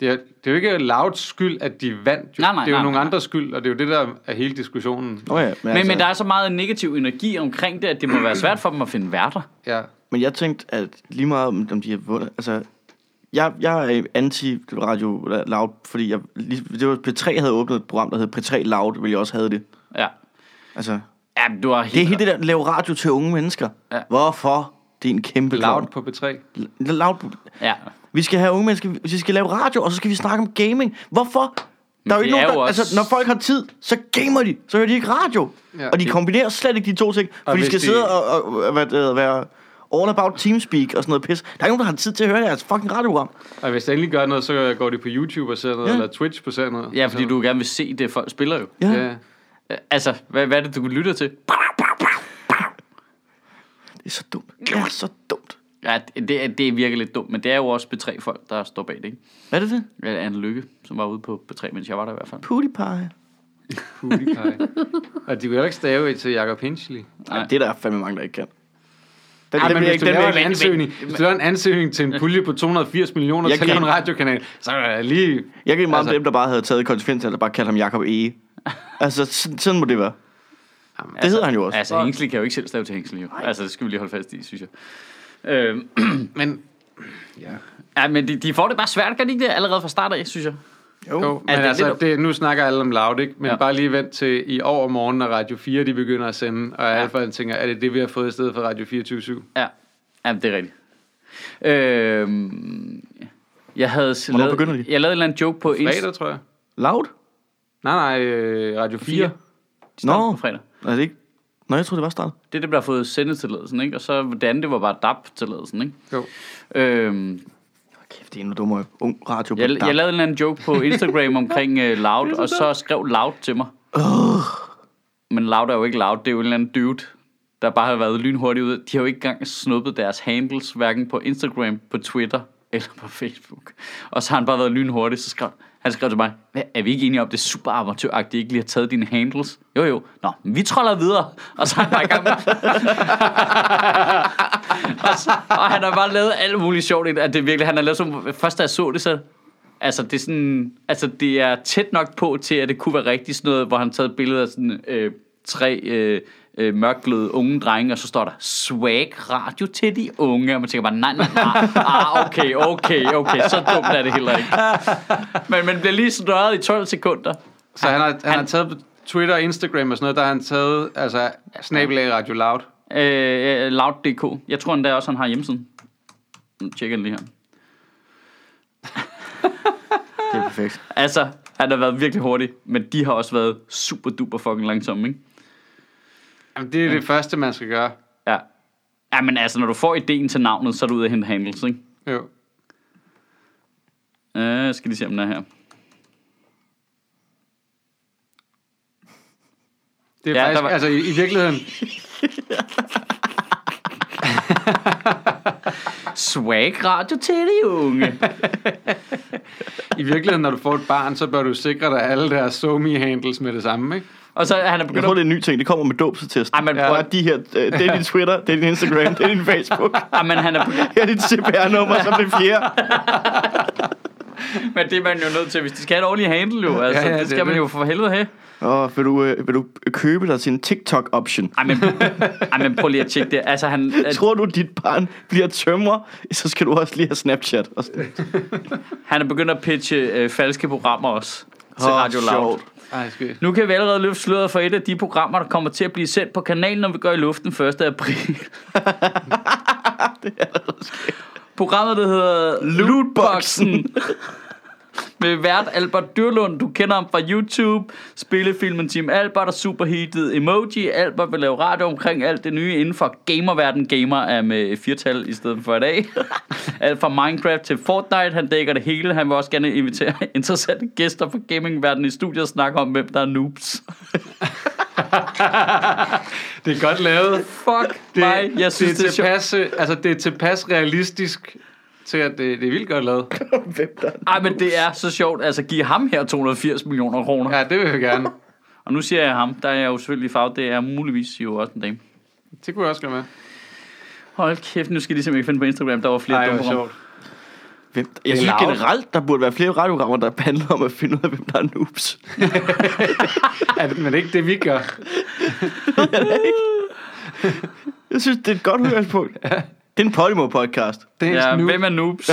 C: det, er, det er jo ikke Louds skyld, at de vandt. Jo.
B: Nej, nej,
C: det er jo
B: nej,
C: nogle
B: nej.
C: andres skyld, og det er jo det, der er hele diskussionen.
A: Nå ja, men,
B: Men,
A: altså,
B: men der er så meget negativ energi omkring det, at det må være svært for dem at finde værter.
C: Ja.
A: men jeg tænkte, at lige meget om om de har vundet, altså, jeg, jeg er anti-radio Loud, fordi jeg, lige- det var, P3 havde åbnet et program, der hed P3 Loud, ville jeg også havde det.
B: Ja.
A: Altså,
B: Ja, men du har helt...
A: det er helt det der, lave radio til unge mennesker.
B: Ja.
A: Hvorfor? Det er en kæmpe
C: Loud
A: klovn.
C: på B3.
A: Loud.
B: Ja.
A: Vi skal have unge mennesker, vi skal lave radio, og så skal vi snakke om gaming. Hvorfor? Der er jo
B: det
A: ikke nogen,
B: er
A: der,
B: jo også-
A: altså, når folk har tid, så gamer de, så hører de ikke radio.
C: Ja.
A: Ja, og de kombinerer slet ikke de to ting, for de
C: hvis
A: skal
C: de-
A: sidde og, og, og hvad, det hedder, være all about Teamspeak og sådan noget pis. Der er ikke nogen, der har tid til at høre deres fucking radioprogram.
C: Og hvis der endelig gør noget, så går de på YouTube og ser noget,
A: Ja.
C: ja. eller Twitch på ser noget.
B: ja, fordi du gerne vil se det, folk spiller jo.
A: Ja.
C: Ja.
B: Altså, hvad, hvad er det, du lytter til?
A: Det er så dumt. Det er så dumt.
B: Ja, det, er- det virker lidt dumt, men det er jo også B3-folk, der står bag det, ikke?
A: Hvad er det det?
B: Ja, Anne Lykke, som var ude på B3, mens jeg var der i hvert fald.
A: PewDiePie.
C: Pudikaj. og de vil jo ikke stave til Jacob Hinsley.
B: Nej.
A: Nej. Det er der fandme mange, der ikke kan. Den,
C: Ja, men
A: bliver
C: hvis du
A: bliver
C: laver en
A: ikke-
C: ansøgning, hvis du laver en ansøgning til en pulje på 280 millioner
A: Jeg
C: til
A: kan-
C: en radiokanal, så er jeg lige...
A: Jeg gik meget altså,
C: Altså-
A: dem, der bare havde taget konsekvensen, og bare kaldte ham Jakob E. altså, sådan, sådan må det være.
C: Jamen,
A: det hedder han jo også.
B: Altså, Hængsli kan jo ikke selv stave til Hængsli, jo. Altså, det skal vi lige holde fast i, synes jeg. Øhm, [clears throat]
C: Men... Ja.
B: ja, men de, de får det bare svært, gør de ikke det? Allerede fra start af, synes jeg.
A: Jo.
C: Jo, men
B: det er
C: altså,
B: lidt-
C: det, nu snakker alle om Loud, ikke? Men
B: Ja.
C: ja. bare lige vent til i overmorgen, når Radio 4 de begynder at sende, og alle folk tænker, er det det, vi har fået i stedet for Radio 24
B: Ja, ja det er rigtigt. Øhm, jeg havde s-
A: Hvornår
B: lavet,
A: begynder de?
B: Jeg lavede en eller anden joke på
C: Fredag, tror jeg.
A: Loud?
C: Nej, nej, øh, Radio 4.
B: Fire.
A: Nå,
B: på fredag.
A: er det ikke? Nå, jeg tror det var startet.
B: Det er det, der har fået sendetilladelsen, ikke? Og så det andet, det var bare DAP-tilladelsen, ikke?
C: Jo.
B: Øhm,
A: Kæft, det er en dumme ung radio.
B: jeg, jeg lavede en eller anden joke på Instagram omkring uh, Loud, og så skrev Loud til mig. Men Loud er jo ikke Loud, det er jo en eller anden dude, der bare har været lynhurtig ude. De har jo ikke engang snuppet deres handles, hverken på Instagram, på Twitter eller på Facebook. Og så har han bare været lynhurtig, så skrev han skrev til mig, "Hvad, er vi ikke enige om, det er super amatøragtigt, ikke lige har taget dine handles? Jo jo, nå, men vi troller videre. Og så er han bare i gang med og, så, [laughs] og han har bare lavet alt muligt sjovt. i det, At det virkelig, han har lavet som, først da jeg så det, så Altså det, er sådan, altså, det er tæt nok på til, at det kunne være rigtigt sådan noget, hvor han taget billeder af sådan, øh, tre øh, øh, mørkbløde unge drenge, og så står der swag radio til de unge, og man tænker bare, nej, nej, nej, ah, okay, okay, okay, så dumt er det heller ikke. Men man bliver lige snørret i 12 sekunder.
C: Så han har, han, han har
B: han-
C: taget på Twitter og Instagram og sådan noget, der har han taget, altså, snabelag Radio Loud.
B: Øh, øh, Loud.dk. Jeg tror endda også, han har hjemmesiden. Nu tjekker jeg den lige her.
A: Det er perfekt.
B: Altså, han har været virkelig hurtig, men de har også været super duper fucking langsomme, ikke?
C: Jamen, det er det første, man skal gøre.
B: Ja. Ja, men altså, når du får ideen til navnet, så er du ude at hente handles, ikke?
C: Jo.
B: Øh, jeg skal lige se, om den er her.
C: Det
B: Ja,
C: er ja,
B: der var-
C: faktisk, var... altså i, i virkeligheden,
B: Swag radio til de unge.
C: i virkeligheden, når du får et barn, så bør du sikre dig alle deres somi handles med det samme, ikke?
B: Og så er han er
A: Jeg
B: begyndt
A: tror,
B: at...
A: det er en ny ting. Det kommer med dåbsattesten.
B: Ej, men prøv
A: ja.
B: at-
A: de her, øh, det er din Twitter, det er din Instagram, det er din Facebook.
B: Ah, men han er
C: [laughs]
B: begyndt...
A: Her er dit CPR-nummer, som det fjerde.
B: Men det er man jo nødt til, hvis de skal have et ordentligt handle jo. Altså,
C: Ja,
B: ja, ja,
C: ja, det
B: det skal
C: er
B: man
C: det.
B: jo for helvede have.
A: Og vil du, øh, vil du købe dig til en TikTok-option?
B: Ej, men, ej, men prøv lige at tjekke det. Altså, han,
A: Tror du, dit barn bliver tømrer, så skal du også lige have Snapchat. Og sådan.
B: han er begyndt at pitche øh, falske programmer også til
A: Åh,
B: Radio Loud.
A: sjovt.
C: Ej, skønt.
B: Nu kan vi allerede løfte sløret for et af de programmer, der kommer til at blive sendt på kanalen, når vi går i luften 1. april. Programmet, der hedder Lootboxen. Med vært Albert Dyrlund, du kender ham fra YouTube, spillefilmen Team Albert og superhitet Emoji. Albert vil lave radio omkring alt det nye inden for gamerverden. Gamer er med firtal i stedet for i dag. alt fra Minecraft til Fortnite, han dækker det hele. Han vil også gerne invitere [laughs] interessante gæster fra gamingverdenen i studiet og snakke om, hvem der er noobs.
C: Det er godt lavet.
B: Fuck det,
C: Det,
B: mig, jeg synes, det,
C: det,
B: det er sjovt.
C: tilpas, øh, altså, det er tilpas realistisk til, at det, det er vildt godt lavet.
A: Hvem der er
B: Ej, men det er så sjovt. Altså, giv ham her 280 millioner kroner. Ja.
C: Ja, det vil jeg gerne.
B: Og nu siger jeg ham, der er jeg jo selvfølgelig farve. Det er muligvis jo også en dame.
C: Det kunne jeg også gøre med.
B: Hold kæft, nu skal jeg ligesom ikke finde på Instagram, der var flere
C: Nej,
B: dumme
C: det var
B: programmer.
C: sjovt.
A: Hvem? Jeg
B: Det er
A: synes
B: Laura.
A: generelt, der burde være flere radioprogrammer, der handler om at finde ud af, hvem der er noobs.
C: Er det, men det er ikke det, vi gør.
A: Jeg synes, det er et godt [laughs] udgangspunkt. Det er en Podimo-podcast.
C: Det er
B: Ja,
C: ja, nu.
B: hvem er noobs?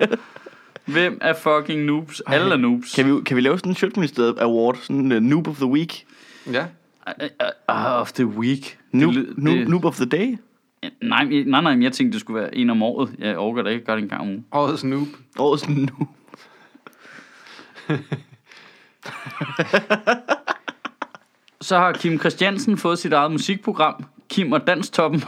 B: Ja. [laughs] hvem er fucking noobs? Alle er noobs.
A: Kan vi, kan vi lave sådan en Sjøtministeriet Award? Sådan en uh, Noob of the Week?
C: Ja.
B: Uh, of the week.
A: Noob,
B: det, ly-
A: noob,
B: det,
A: noob of the Day?
B: Nej, men- nej, nej, men jeg tænkte, det skulle være en om året. Jeg overgår det ikke gøre det en gang om ugen.
C: Årets noob.
A: Årets noob.
B: Så har Kim Christiansen fået sit eget musikprogram. Kim og Danstoppen.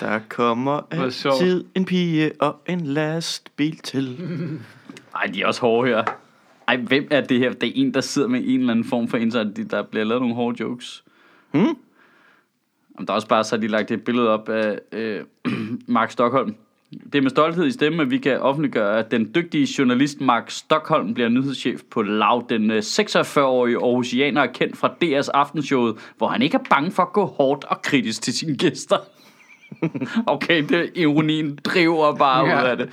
A: Der kommer
C: Hvor sjovt.
A: altid en pige og en lastbil til.
B: Ej, de er også hårde her. Ej, hvem er det her? Det er en, der sidder med en eller anden form for insight, der bliver lavet nogle hårde jokes.
A: Hmm?
B: Jamen, der er også bare så har de lagt et billede op af øh, [clears throat] Mark Stockholm. Det er med stolthed i stemmen, at vi kan offentliggøre, at den dygtige journalist Mark Stockholm bliver nyhedschef på LAV. Den øh, 46-årige Aarhusianer er kendt fra DR's aftenshowet, hvor han ikke er bange for at gå hårdt og kritisk til sine gæster. [laughs] okay, det ironien driver bare
C: Ja.
B: ud af det.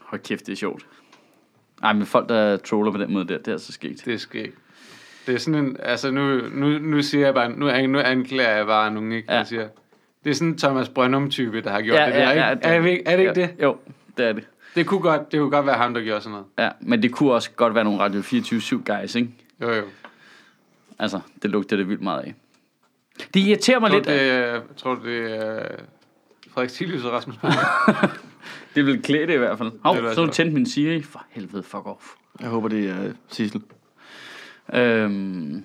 B: Hold kæft, det er sjovt. Ej, men folk, der troller på den måde der, det er altså så sket.
C: Det skal ikke. Det er sådan en, altså nu, nu, nu siger jeg bare, nu, an- nu anklager jeg bare nogen, ikke?
B: Ja.
C: Ja. Jeg siger, det er sådan en Thomas Brøndum-type, der har gjort ja, det der, ja, ikke? Ja, er, det, ikke- er det ikke
B: ja,
C: det?
B: Jo, det er det.
C: Det kunne, godt, det kunne godt være ham, der gjorde sådan noget.
B: Ja, men det kunne også godt være nogle Radio 24-7 guys, ikke?
C: Jo, jo.
B: Altså, det lugter det vildt meget af. Det irriterer mig
C: Tror
B: lidt.
C: du,
B: at-
C: det, er- tror du, det er Frederik Silius og Rasmus Bo?
B: Det vil klæde det i hvert fald.
C: Det er
B: Hov,
C: det
B: så nu
C: altså.
B: tændte min Siri. For helvede, fuck off.
A: Jeg håber, det er uh, Sissel.
B: Øhm,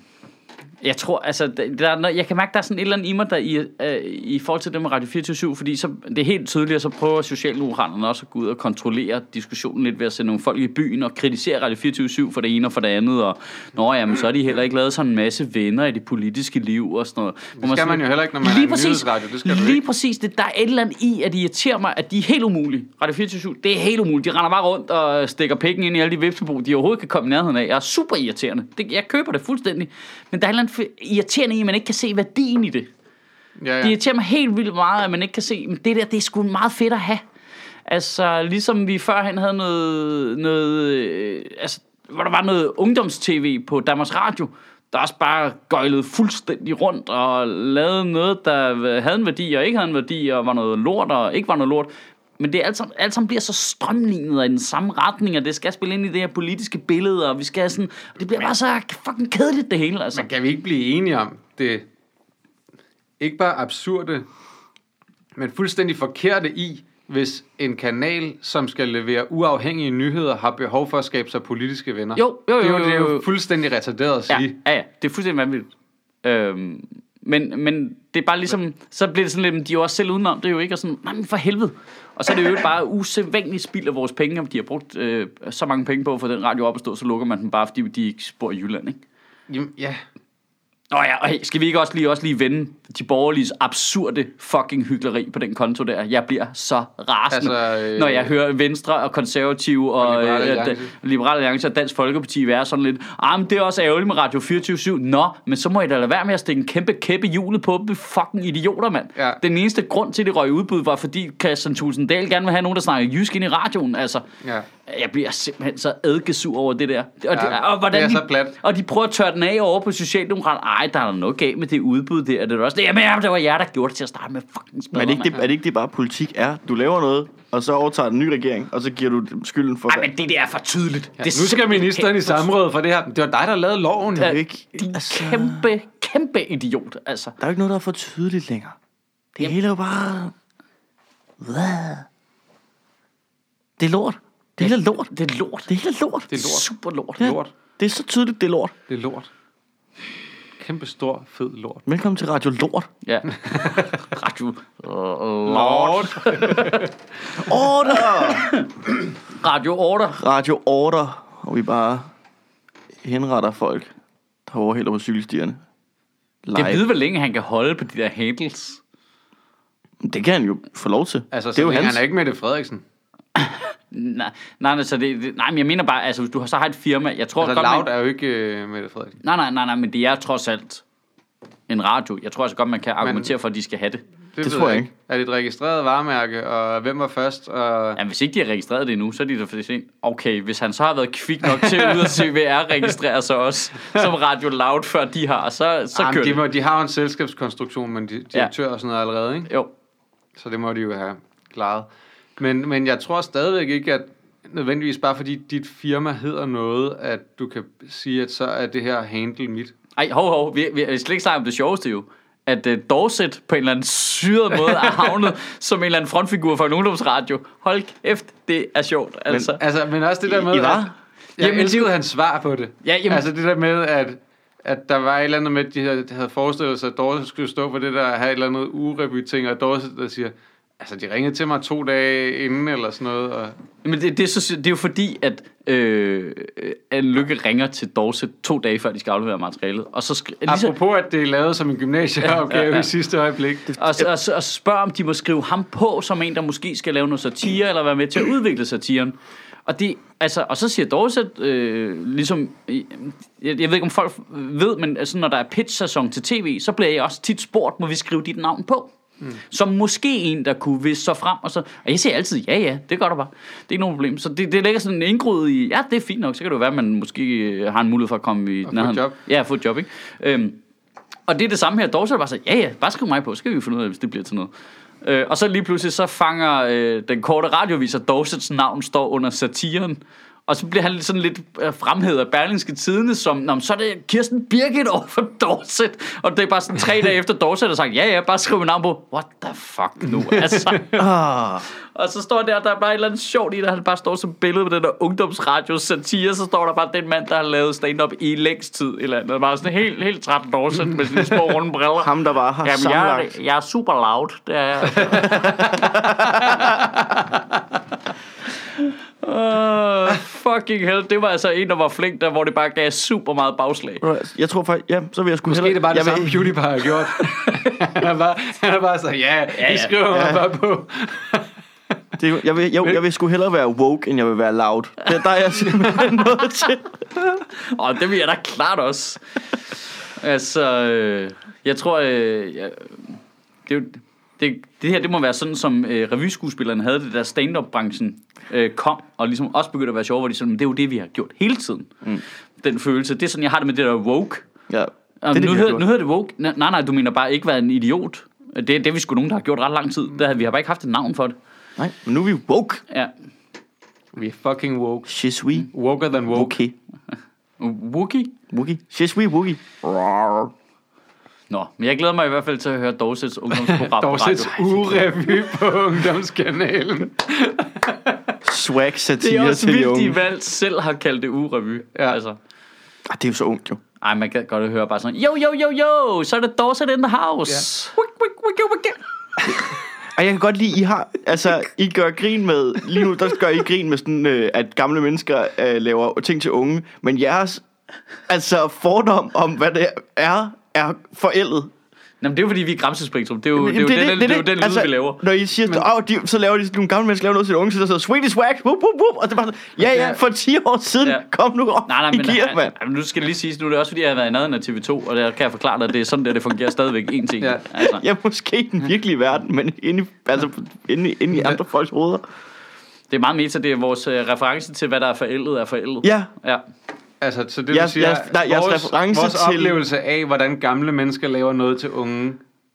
B: jeg tror, altså, der, der, er noget- jeg kan mærke, der er sådan et eller andet i mig, der i, øh, i forhold til det med Radio 24 fordi så, det er helt tydeligt, at så prøver Socialdemokraterne også at gå ud og kontrollere diskussionen lidt ved at sende nogle folk i byen og kritisere Radio 24 for det ene og for det andet, og nå jamen, så er de heller ikke lavet sådan en masse venner i det politiske liv og sådan noget. Hvor
C: Det skal
B: sådan-
C: man jo heller ikke, når man er en nyhedsradio. Det skal du
B: lige
C: ikke.
B: præcis. Det, der er et eller andet i, at det irriterer mig, at de er helt umulige. Radio 24 det er helt umuligt. De render bare rundt og stikker pikken ind i alle de vipsebo, de overhovedet kan komme i nærheden af. Jeg er super irriterende. Det, jeg køber det fuldstændig. Men der er et eller andet fe- irriterende i, at man ikke kan se værdien i det.
C: Ja,
B: Det
C: ja.
B: irriterer mig helt vildt meget, at man ikke kan se, men det der, det er sgu meget fedt at have. Altså, ligesom vi førhen havde noget, noget øh, altså, hvor der var noget ungdomstv på Danmarks Radio, der også bare gøjlede fuldstændig rundt og lavede noget, der havde en værdi og ikke havde en værdi, og var noget lort og ikke var noget lort. Men det er alt sammen, alt sammen bliver så strømlignet og i den samme retning, og det skal spille ind i det her politiske billede, og vi skal have sådan, det bliver bare så fucking kedeligt det hele, altså.
C: Men kan vi ikke blive enige om det ikke bare absurde, men fuldstændig forkerte i, hvis en kanal, som skal levere uafhængige nyheder, har behov for at skabe sig politiske venner?
B: Jo, jo, jo,
C: Det er jo, det er
B: jo,
C: jo
B: jo.
C: fuldstændig retarderet at sige.
B: Ja, ja, ja. det er fuldstændig vanvittigt. Øhm, men, men det er bare ligesom, så bliver det sådan lidt, de er jo også selv udenom, det er jo ikke, og sådan, nej, men for helvede. Og så er det jo bare usædvanligt spild af vores penge, om de har brugt øh, så mange penge på at få den radio op at stå, så lukker man den bare, fordi de ikke spor i Jylland, ikke?
C: Jamen, ja.
B: Nå ja, og hey, skal vi ikke også lige, også lige vende de borgerliges absurde fucking hyggeleri på den konto der? Jeg bliver så rasende, altså,
C: Altså,
B: øh,
C: øh,
B: når jeg hører Venstre og Konservative og, og
C: Liberal
B: Liberale, Alliance.
C: Alliance.
B: Liberale Alliance og Dansk Folkeparti være sådan lidt, ah, men det er også ærgerligt med Radio 24 Nå, men så må I da lade være med at stikke en kæmpe kæppe i hjulet på dem, fucking idioter, mand.
C: Ja.
B: Den eneste grund til, at det røg i udbud, var fordi Christian Tulsendal gerne vil have nogen, der snakker jysk ind i radioen, altså.
C: Ja.
B: Jeg bliver simpelthen så adgesur over det der. Og, ja, det, og hvordan
C: det er
B: de,
C: så plat.
B: og de prøver at tørre den af over på Socialdemokrat. Ej, der er da noget galt med det udbud der. Er Det er også det. Jamen, ja, det var jer, der gjorde det til at starte med. Fucking
A: Men er
B: smadre,
A: det, ikke det,
B: mand.
A: er det ikke det bare politik er? Du laver noget, og så overtager den nye regering, og så giver du skylden for...
B: Ej, men det der er for tydeligt. Ja, det er
C: Nu skal
B: simpelthen
C: ministeren i
B: for-
C: samråd for det her. Det var dig, der lavede loven.
B: Ja,
C: Ja.
A: jo ikke-
B: Din
A: altså-
B: kæmpe, kæmpe idiot, altså.
A: Der er jo ikke noget, der er for tydeligt længere. Det
B: Jamen.
A: hele er jo bare... Hvad? Det er lort. Det hele er lort.
B: Det er lort.
A: Det hele er lort.
C: Det er lort.
B: Super lort.
A: Ja.
C: Lort.
A: Det er så tydeligt, det er lort.
C: Det er lort. Kæmpe stor, fed lort.
A: Velkommen til Radio [laughs] Lort.
B: Ja. [laughs] Radio
C: Lort.
A: Order!
B: Radio Order.
A: Radio Order. Og vi bare henretter folk, der overhælder på cykelstierne.
B: Det
A: Live.
B: ved hvor længe han kan holde på de der handles.
A: Det, det kan han jo få lov til.
C: Altså,
A: det er jo hans.
C: han er ikke med det Frederiksen.
B: Nej, nej, altså det, det, nej, men jeg mener bare, altså hvis du har, så har et firma, jeg tror
C: Altså,
B: godt,
C: Loud
B: man,
C: er jo ikke øh, Mette Frederiksen.
B: nej, nej, nej, nej, men det er trods alt en radio. Jeg tror altså godt, man kan argumentere for, at de skal have det.
C: Det,
A: tror jeg ikke.
C: Er det et registreret varemærke, og hvem var først? Og...
B: Ja, hvis ikke de har registreret det endnu, så er de da for sent. Okay, hvis han så har været kvik nok til at ud og
C: [laughs]
B: CVR registrere sig også som Radio Loud, før de har, så, så
C: Jamen,
B: kører
C: de,
B: det.
C: må, de har jo en selskabskonstruktion, men de, direktør og sådan noget allerede, ikke?
B: Jo,
C: Så det må de jo have klaret. Men, men jeg tror stadigvæk ikke, at nødvendigvis bare fordi dit firma hedder noget, at du kan sige, at så er det her handle mit.
B: Ej, hov, hov, vi, vi har slet ikke snakket om det sjoveste jo. At uh, Dorset på en eller anden syret måde er
C: [laughs]
B: havnet som en eller anden frontfigur for en ungdomsradio. Hold kæft, det er sjovt, altså.
C: Altså, men også det der med,
A: I
C: at
A: var?
C: jeg
B: Jamen,
C: jamen,
B: det-
C: elskede hans svar på det.
B: Ja, jamen-
C: Altså det der med, at, at der var et eller andet med, at de havde, havde forestillet sig, at Dorset skulle stå på det der, og have et eller andet urebyting, og Dorset der siger, altså de ringede til mig to dage inden, eller sådan noget, og
B: Men det, det, er så, det er jo fordi, at øh, Anne Lykke ringer til Dorset to dage før, de skal aflevere materialet. Og så, sk- lige så,
C: Apropos, at det er lavet som en gymnasieopgave
B: Ligesom- Ja,
C: ja,
B: ja,
C: ja,
B: ja.
C: i sidste øjeblik.
B: og, så- og, så- og spørger, om de må skrive ham på som en, der måske skal lave noget satire, eller være med til at udvikle satiren. Og, det, altså, og så siger Dorset, øh, ligesom, øh, jeg, jeg ved ikke om folk ved, men altså, når der er pitch-sæson til tv, så bliver jeg også tit spurgt, må vi skrive dit navn på? Mm. Som måske en, der kunne vise sig frem. Og, så, og jeg siger altid, ja ja, det gør du bare. Det er ikke nogen problem. Så det, det ligger sådan en indgrud i, ja det er fint nok, så kan det jo være, at man måske øh, har en mulighed for at komme i...
C: få et job.
B: Ja, få et job, ikke? Øhm, og det er det samme her. Dorset bare så, ja ja, bare skriv mig på, så skal vi finde ud af, hvis det bliver til noget. Øh, og så lige pludselig, så fanger øh, den korte radioviser, Dorsets navn står under satiren. Og så bliver han lidt- sådan lidt øh, fremhævet af Berlingske Tidene, som, Nå, men så er det Kirsten Birgit over for Dorset. Og det er bare sådan tre
C: [laughs]
B: dage efter Dorset, der sagt, ja ja, bare skriv mit navn på. What the fuck nu, altså.
A: Ah,
B: og så står der, der er bare et eller andet sjovt i det, han bare står som billede på den der ungdomsradio satire, så står der bare den mand, der har lavet stand-up i længst tid, eller andet. Bare sådan helt, helt træt Dorset med sine små runde briller.
A: ham, der var her
B: Jamen, jeg,
A: sammenlagt.
B: er- jeg er super loud.
A: [laughs]
B: Det er jeg. uh, fucking hell. Det var altså en, der var flink, der, hvor det bare gav super meget bagslag.
A: Jeg tror faktisk, ja, så vil jeg sgu
C: Måske er det bare det
A: jeg
C: samme,
A: vil-
C: PewDiePie har gjort. han, er bare, han er bare så, ja,
B: ja.
C: I skriver mig
A: Ja.
C: bare på.
A: Det, er jo- jeg, vil, jeg, jeg vil sgu hellere være woke, end jeg vil være loud. Det, der er jeg simpelthen noget til.
B: Og det vil jeg da klart også. altså, øh, jeg tror, øh, jeg, det, er jo- det, det her det må være sådan, som øh, revyskuespillerne havde det, da stand-up-branchen øh, kom, og ligesom også begyndte at være sjov, hvor de sådan, "Men det er jo det, vi har gjort hele tiden. Mm. Den følelse. Det er sådan, jeg har det med det der woke.
A: Ja, det er
B: Jamen,
A: det,
B: nu,
A: vi har
B: hedder, nu
A: gjort.
B: hedder det woke. Nej, nej, nej, du mener bare ikke været en idiot. Det, det er vi sgu nogen, der har gjort ret lang tid. Det, havde- vi har bare ikke haft et navn for det.
A: Nej, men nu er vi woke.
B: Ja.
C: Vi er fucking woke.
A: She's we.
C: Woker than woke.
A: Okay.
B: Wookie?
A: Wookie. She's we Wookie. Rawr.
B: Nå, men jeg glæder mig i hvert fald til at høre Dorsets
A: [laughs]
B: ungdomsprogram på
C: Dorsets
B: radio.
C: urevy på ungdomskanalen.
A: Swag
B: Det er
A: satire
B: også
A: til de
B: vildt, de
A: unge.
B: valgt selv har kaldt det urevy. Ja.
C: Ja.
B: Altså,
A: Ah, det er jo så ungt jo.
B: ej, man kan godt høre bare sådan, jo, jo, jo, jo, så er det Dorset in the house. Ja. Wik, wik, wik, wik, wik.
A: Og jeg kan godt lide, I har, altså, I gør grin med, lige nu, der gør I grin med sådan, øh, at gamle mennesker øh, laver ting til unge, men jeres, altså, fordom om, hvad det er, er forældet.
B: Jamen, det er jo fordi, vi er Gramsespektrum. Det er jo,
A: Jamen,
B: det, er jo
A: det er
B: den, det, det, det, er jo den lyd,
A: altså,
B: vi laver.
A: Når I siger, men... oh, de, så laver de nogle gamle mennesker laver noget til de unge, så der sidder Swedish Wax, whoop, whoop, whoop, og det var sådan, ja, ja,
C: Ja.
A: for 10 år siden,
B: Ja.
A: ja. kom nu op
B: Nej, nej,
A: i
B: men
A: gear, mand.
B: nej, nu skal det lige siges, nu er det også fordi, jeg har været i nærheden af TV2, og der kan jeg forklare dig, at det er sådan der, det fungerer stadigvæk en ting.
C: Ja.
B: Altså.
A: Ja, måske i den virkelige verden, men inde i, altså, inde, i- inde i andre folks hoveder.
B: Det er meget meta, det er vores uh, reference til, hvad der er forældet, er forældet.
A: Ja,
B: ja.
C: Altså, så det
A: Jeres-
C: vil sige,
A: jeres- nej, jeres reference
C: vores
A: til-
C: oplevelse af, hvordan gamle mennesker laver noget til unge,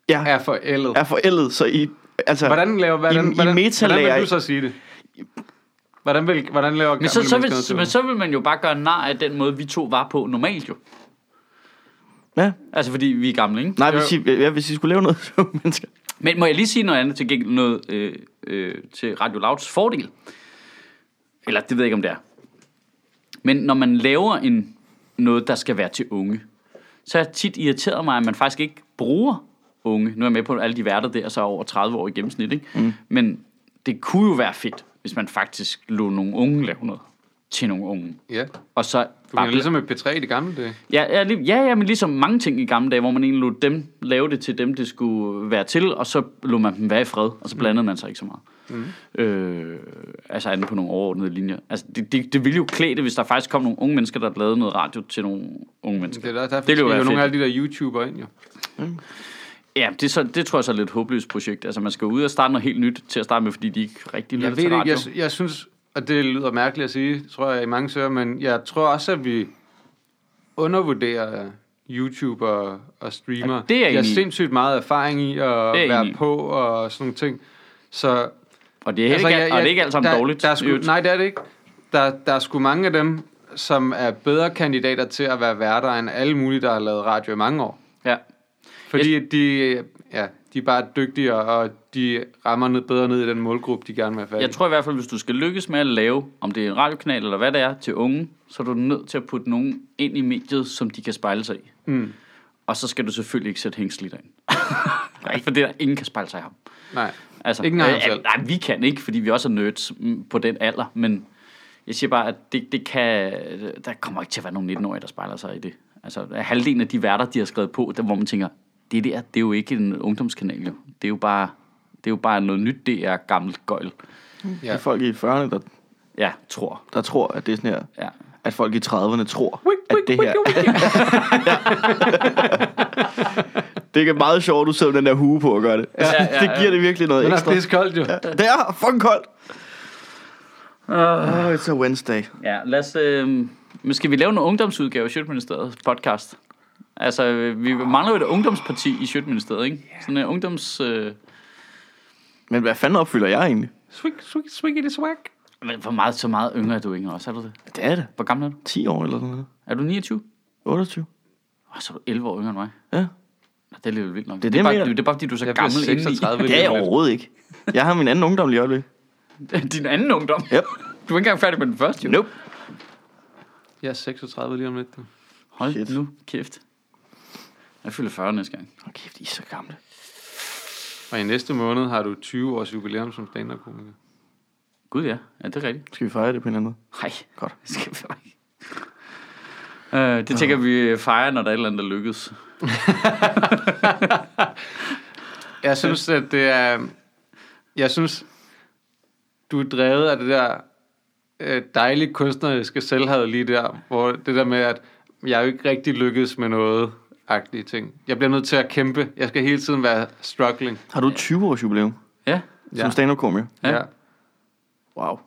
A: ja,
C: er forældet.
A: Ah. er forældet, så I... Altså,
C: Hvordan laver hvordan,
A: I
C: hvordan, hvordan
A: metalærer-
C: vil du så sige det? Hvordan vil hvordan laver gamle
B: Men, så, så
C: mennesker noget til
B: vil,
A: altså.
B: men så
C: unge?
B: vil man jo bare gøre nar af den måde, vi to var på normalt jo.
A: Ja.
B: Altså fordi vi er gamle, ikke?
A: Nej,
C: Jo.
A: hvis I, ja, hvis I skulle lave noget [laughs] som mennesker.
B: Men må jeg lige sige noget andet til gengæld noget øh, øh, til Radio Louds fordel? Eller det ved jeg ikke, om det er. Men når man laver en, noget, der skal være til unge, så har jeg tit irriteret mig, at man faktisk ikke bruger unge. Nu er jeg med på at alle de værter der, så er over 30 år i gennemsnit. Ikke? Mm. Men det kunne jo være fedt, hvis man faktisk lå nogle unge lave noget til nogle unge.
C: Ja,
B: Og så
C: du bliver ligesom et P3 i det gamle dage.
B: Ja, ja, lige- ja, ja, men ligesom mange ting i gamle dage, hvor man egentlig lod dem lave det til dem, det skulle være til, og så lod man dem være i fred, og så blandede man sig ikke så meget. Mm. Øh, altså andet på nogle overordnede linjer. Altså, det, det, det ville jo klæde det, hvis der faktisk kom nogle unge mennesker, der lavede noget radio til nogle unge mennesker.
C: Det er der, derfor
B: ville
C: det
B: jo
C: jo
B: være
C: nogle
B: fedt.
C: af de der YouTubere ind, jo.
B: Ja, det, er så, det tror jeg så er et lidt håbløst projekt. Altså, man skal ud og starte noget helt nyt til at starte med, fordi de ikke rigtig laver
C: Jeg
B: det
C: ved
B: til
C: ikke,
B: radio.
C: jeg, jeg synes, og det lyder mærkeligt at sige, tror jeg, i mange søger, men jeg tror også, at vi undervurderer YouTuber og streamer.
B: Ja, det er jeg
C: jeg har
B: enig i.
C: sindssygt meget erfaring i at
B: jeg
C: være
B: enig i.
C: på og sådan nogle ting. Så
B: og det er, altså, ikke, jeg, og det er ikke alt sammen
C: der,
B: dårligt.
C: Der er
B: i
C: sgu,
B: øvrigt.
C: nej, det er det ikke. Der, der er sgu mange af dem, som er bedre kandidater til at være værter end alle mulige, der har lavet radio i mange år.
B: Ja.
C: Fordi de, ja, de er bare dygtige, og de rammer ned, bedre ned i den målgruppe, de gerne vil have fat i.
B: Jeg tror i hvert fald, hvis du skal lykkes med at lave, om det er en radiokanal eller hvad det er, til unge, så er du nødt til at putte nogen ind i mediet, som de kan spejle sig i.
C: Mm.
B: Og så skal du selvfølgelig ikke sætte hængsel i dig. [laughs] Nej, for det er der ingen kan spejle sig i ham.
C: Nej.
B: Altså,
C: Ikke engang ham selv.
B: nej, vi kan ikke, fordi vi også er nerds mm, på den alder, men jeg siger bare, at det, det kan, der kommer ikke til at være nogen 19-årige, der spejler sig i det. Altså, halvdelen af de værter, de har skrevet på, der, hvor man tænker, det der, det er jo ikke en ungdomskanal, jo. Det er jo bare, det er jo bare noget nyt, det er gammelt gøjl.
A: Ja.
C: Ja.
A: Det er folk i 40'erne, der,
B: Ja, tror.
A: der tror, at det er sådan her...
B: Ja.
A: At folk i 30'erne tror, at det her... det er meget sjovt, at du sidder med den der hue på og gør det. Altså,
B: Ja, ja, ja.
A: Det giver det virkelig noget
C: Den er
A: ekstra.
C: pissekoldt jo. Ja.
A: Det er fucking koldt. Uh, oh, it's a Wednesday.
B: [laughs] Ja, lad os... Øh, men skal vi lave en ungdomsudgave af Sjøtministeriet podcast? Altså, øh, vi mangler jo et ungdomsparti i Sjøtministeriet, ikke? Sådan en ungdoms... Øh,
A: Men hvad fanden opfylder jeg egentlig?
C: Swig, swig, swig, swag.
B: men hvor meget, så meget yngre er du, Inger, også? Er du det?
A: Det er det.
B: Hvor gammel er du?
A: 10 år eller sådan noget.
B: Er du 29?
A: 28.
B: Åh, så er du 11 år yngre end mig.
A: Ja.
B: Nå, Det er alligevel vildt nok.
A: er det,
B: det, er
A: jeg
B: bare,
A: mener.
B: det, er bare, fordi du er så
C: Jeg bliver
B: gammel indeni.
C: 36
A: Det er jeg overhovedet ikke. Jeg har min anden ungdom lige i øjeblikket.
B: [laughs] Din anden ungdom.
A: Yep.
B: Du er ikke engang færdig med den første, jo.
A: Nope.
C: Jeg er 36 lige om lidt. du.
B: Hold
A: Shit.
B: nu kæft. Jeg fylder 40 næste gang.
A: Hold kæft, I er så gamle.
C: Og i næste måned har du 20 års jubilæum som stand-up-komiker.
B: Gud ja, ja det er rigtigt.
A: Skal vi fejre det på en eller anden måde?
B: Nej.
A: Godt.
B: Det skal vi ikke. Øh, det tænker vi fejrer, når der er et eller andet, der lykkes.
C: Jeg synes, at det er... Jeg synes, du er drevet af det der øh, dejlige kunstneriske selvhed lige der, hvor det der med, at jeg er jo ikke rigtig lykkedes med noget agtige ting. Jeg bliver nødt til at kæmpe. Jeg skal hele tiden være struggling.
A: Har du 20 års jubilæum
B: Ja.
A: ja. som stand-up-komiker?
B: Ja.
C: Ja. ja.
A: Wow.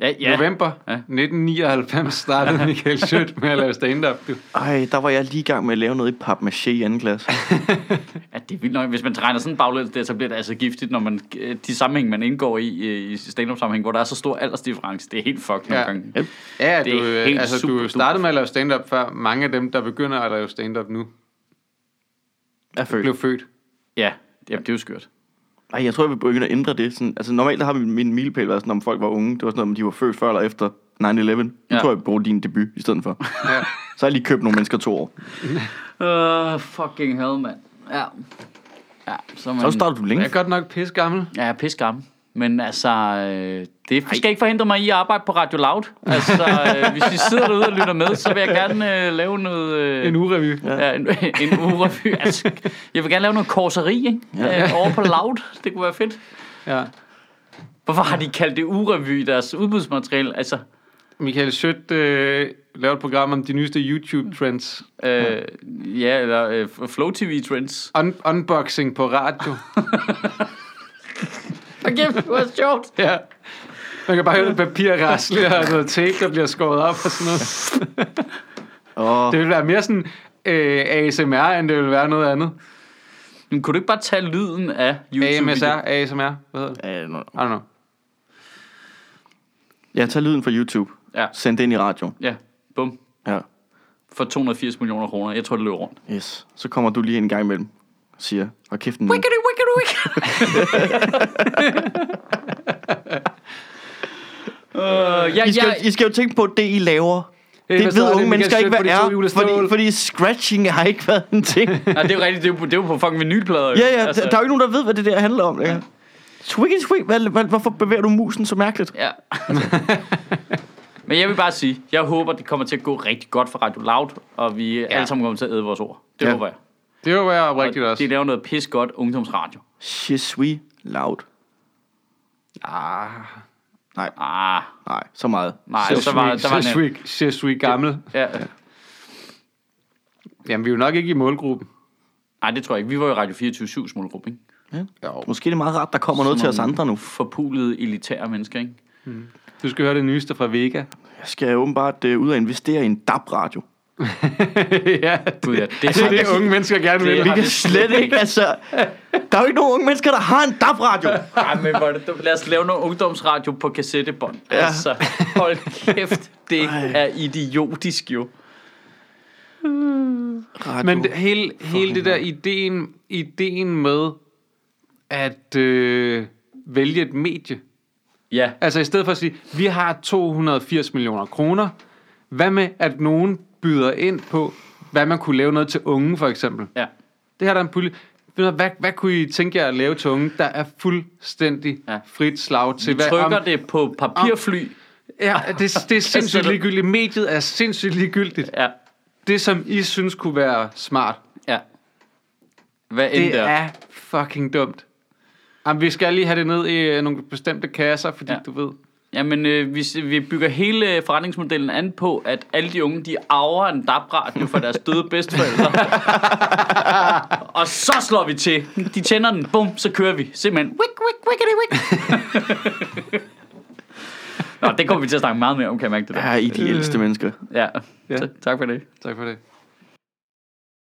B: Ja, ja.
C: November
B: Ja.
C: ja. 1999 startede Michael Schødt med at lave stand-up. Du.
A: Ej, der var jeg lige i gang med at lave noget i papmaché i anden klasse.
B: ja det er vildt nok. Hvis man regner sådan baglæns der, så bliver det altså giftigt, når man, øh, de sammenhæng, man indgår i, øh, i stand sammenhæng, hvor der er så stor aldersdifference. Det er helt fucked nogle
C: Ja.
B: gange.
A: Yep.
C: Ja,
B: Det er
C: du, øh,
B: helt
C: altså,
B: super
C: du startede med at lave stand-up før mange af dem, der begynder at lave stand-up nu,
A: Jeg føler.
C: blev født.
B: Ja, jamen, det er jo skørt.
A: Ej, jeg tror, jeg vil begynde at ændre det. Sådan, altså, normalt der har min, min milepæl været sådan, om folk var unge. Det var sådan noget, om de var født før eller efter 9-11. Nu
B: Ja.
A: tror jeg, jeg bruger din debut i stedet for.
C: Ja.
A: Så har jeg lige købt nogle mennesker to år.
B: Uh, fucking hell, mand. Ja. Ja, så, er man,
A: Så starter du
C: Jeg
A: længe.
C: er godt nok pisse gammel.
B: Ja, jeg er pisse gammel. Men altså, øh, det skal ikke forhindre mig i at arbejde på Radio Loud. Altså, øh, hvis I sidder derude og lytter med, så vil jeg gerne øh, lave noget... Øh,
C: En urevy.
B: Ja, en, [laughs] en urevy. Altså, jeg vil gerne lave noget korseri, ikke? Ja. Øh, over på Loud. Det kunne være fedt.
C: Ja.
B: Hvorfor har de kaldt det urevy i deres udbudsmateriale? Altså,
C: Michael Sødt øh, lavede et program om de nyeste YouTube-trends.
B: øh, ja, eller øh, Flow TV Trends.
C: Un- unboxing på radio.
B: Og kæft, det var sjovt.
C: ja. Man kan bare høre noget papir rasle og noget tape, der bliver skåret op og sådan noget.
A: Åh,
C: Det ville være mere sådan øh, ASMR, end det ville være noget andet.
B: Men kunne du ikke bare tage lyden af youtube
C: AMSR, ASMR, hvad hedder det?
A: øh, nå.
C: I don't know.
A: Jeg tager lyden fra YouTube.
B: Ja.
A: Send det ind i radioen.
B: Ja, bum.
A: Ja.
B: For 280 millioner kroner. Jeg tror, det løber rundt.
A: Yes. Så kommer du lige en gang imellem og siger, og kæft den.
B: Wickedy, wickedy, [laughs] wickedy. uh, ja,
A: I skal,
B: ja,
A: I skal jo tænke på, at det I laver,
C: Hey,
A: det
C: Øh, hvad
A: ved
C: så?
A: unge
C: Det er
A: mennesker
C: Michael
A: ikke, hvad
C: Schødt på de to
A: er,
C: hjulestål.
A: fordi, fordi scratching har ikke været en ting.
C: [laughs]
B: Nej, det er jo rigtigt. Det er jo, det er jo på fucking vinylplader. jo.
A: Ja, ja, altså, der er jo ikke nogen, der ved, hvad det der handler om. Ja. Twiggy twig, hvad, hvad, hvorfor bevæger du musen så mærkeligt?
B: Ja. Men jeg vil bare sige, jeg håber, det kommer til at gå rigtig godt for Radio Loud, og vi ja. alle sammen kommer til at æde vores ord. Det
A: Ja.
B: håber jeg.
C: Det var være oprigtigt
B: Og
C: også.
B: de laver noget pis godt ungdomsradio.
A: Je suis loud.
C: Ah,
B: Ah,
A: Nej, så meget.
B: nej,
A: Je
B: så
A: suis-
B: var, der var en,
C: Sesui gammel.
B: ja.
C: Jamen, vi er jo nok ikke i målgruppen.
B: Nej, det tror jeg ikke. Vi var jo Radio 24-7's målgruppe, ikke?
A: Måske er det meget rart, der kommer noget til os andre nu.
B: Forpulede, elitære mennesker, ikke?
C: Du skal høre det nyeste fra Vega. [laughs]
A: Jeg skal åbenbart øh, ud og investere i en DAB-radio.
C: ja,
B: Gud, ja, det,
C: [laughs] Altså, det er det, unge mennesker gerne
B: Det
C: vil.
B: har
A: Det er slet ikke, [laughs] altså... Der er jo ikke nogen unge mennesker, der har en DAB-radio.
B: Ej, men hvor er det dumt. Lad os lave noget ungdomsradio på kassettebånd. Ja. Altså, hold kæft, det er idiotisk jo.
A: Radio.
C: Men det, hele, hele det der ideen, ideen med at øh, vælge et medie.
B: Ja,
C: Altså i stedet for at sige, vi har 280 millioner kroner. Hvad med, at nogen byder ind på, hvad man kunne lave noget til unge for eksempel?
B: ja.
C: Det her der er en pulje. Ved du Hvad, hvad, hvad kunne I tænke jer at lave til unge, der er fuldstændig
B: Ja.
C: ja. frit slag til?
B: Vi
C: hvad,
B: trykker det på papirfly.
C: Ja, det, [laughs] det er sindssygt
B: du-
C: ligegyldigt. Mediet er sindssygt ligegyldigt.
B: Ja,
C: Det, som I synes kunne være smart,
B: ja. Hvad end
C: det
B: det er.
C: er fucking dumt. Jamen, vi skal lige have det ned i øh, nogle bestemte kasser, fordi
B: Ja.
C: ja. du ved...
B: Jamen, øh, vi, vi bygger hele øh, forretningsmodellen an på, at alle de unge, de arver en DAB-radio fra deres døde
C: [laughs]
B: bedsteforældre. og så slår vi til. De tænder den, bum, så kører vi. Simpelthen, wick, wick, wickety, wick.
C: [laughs]
B: Nå, det kommer vi til at snakke meget mere om, kan jeg mærke det der.
A: Øh. Ja, I er de ældste mennesker.
B: Ja,
C: Ja.
B: ja. tak for det.
C: Tak for det.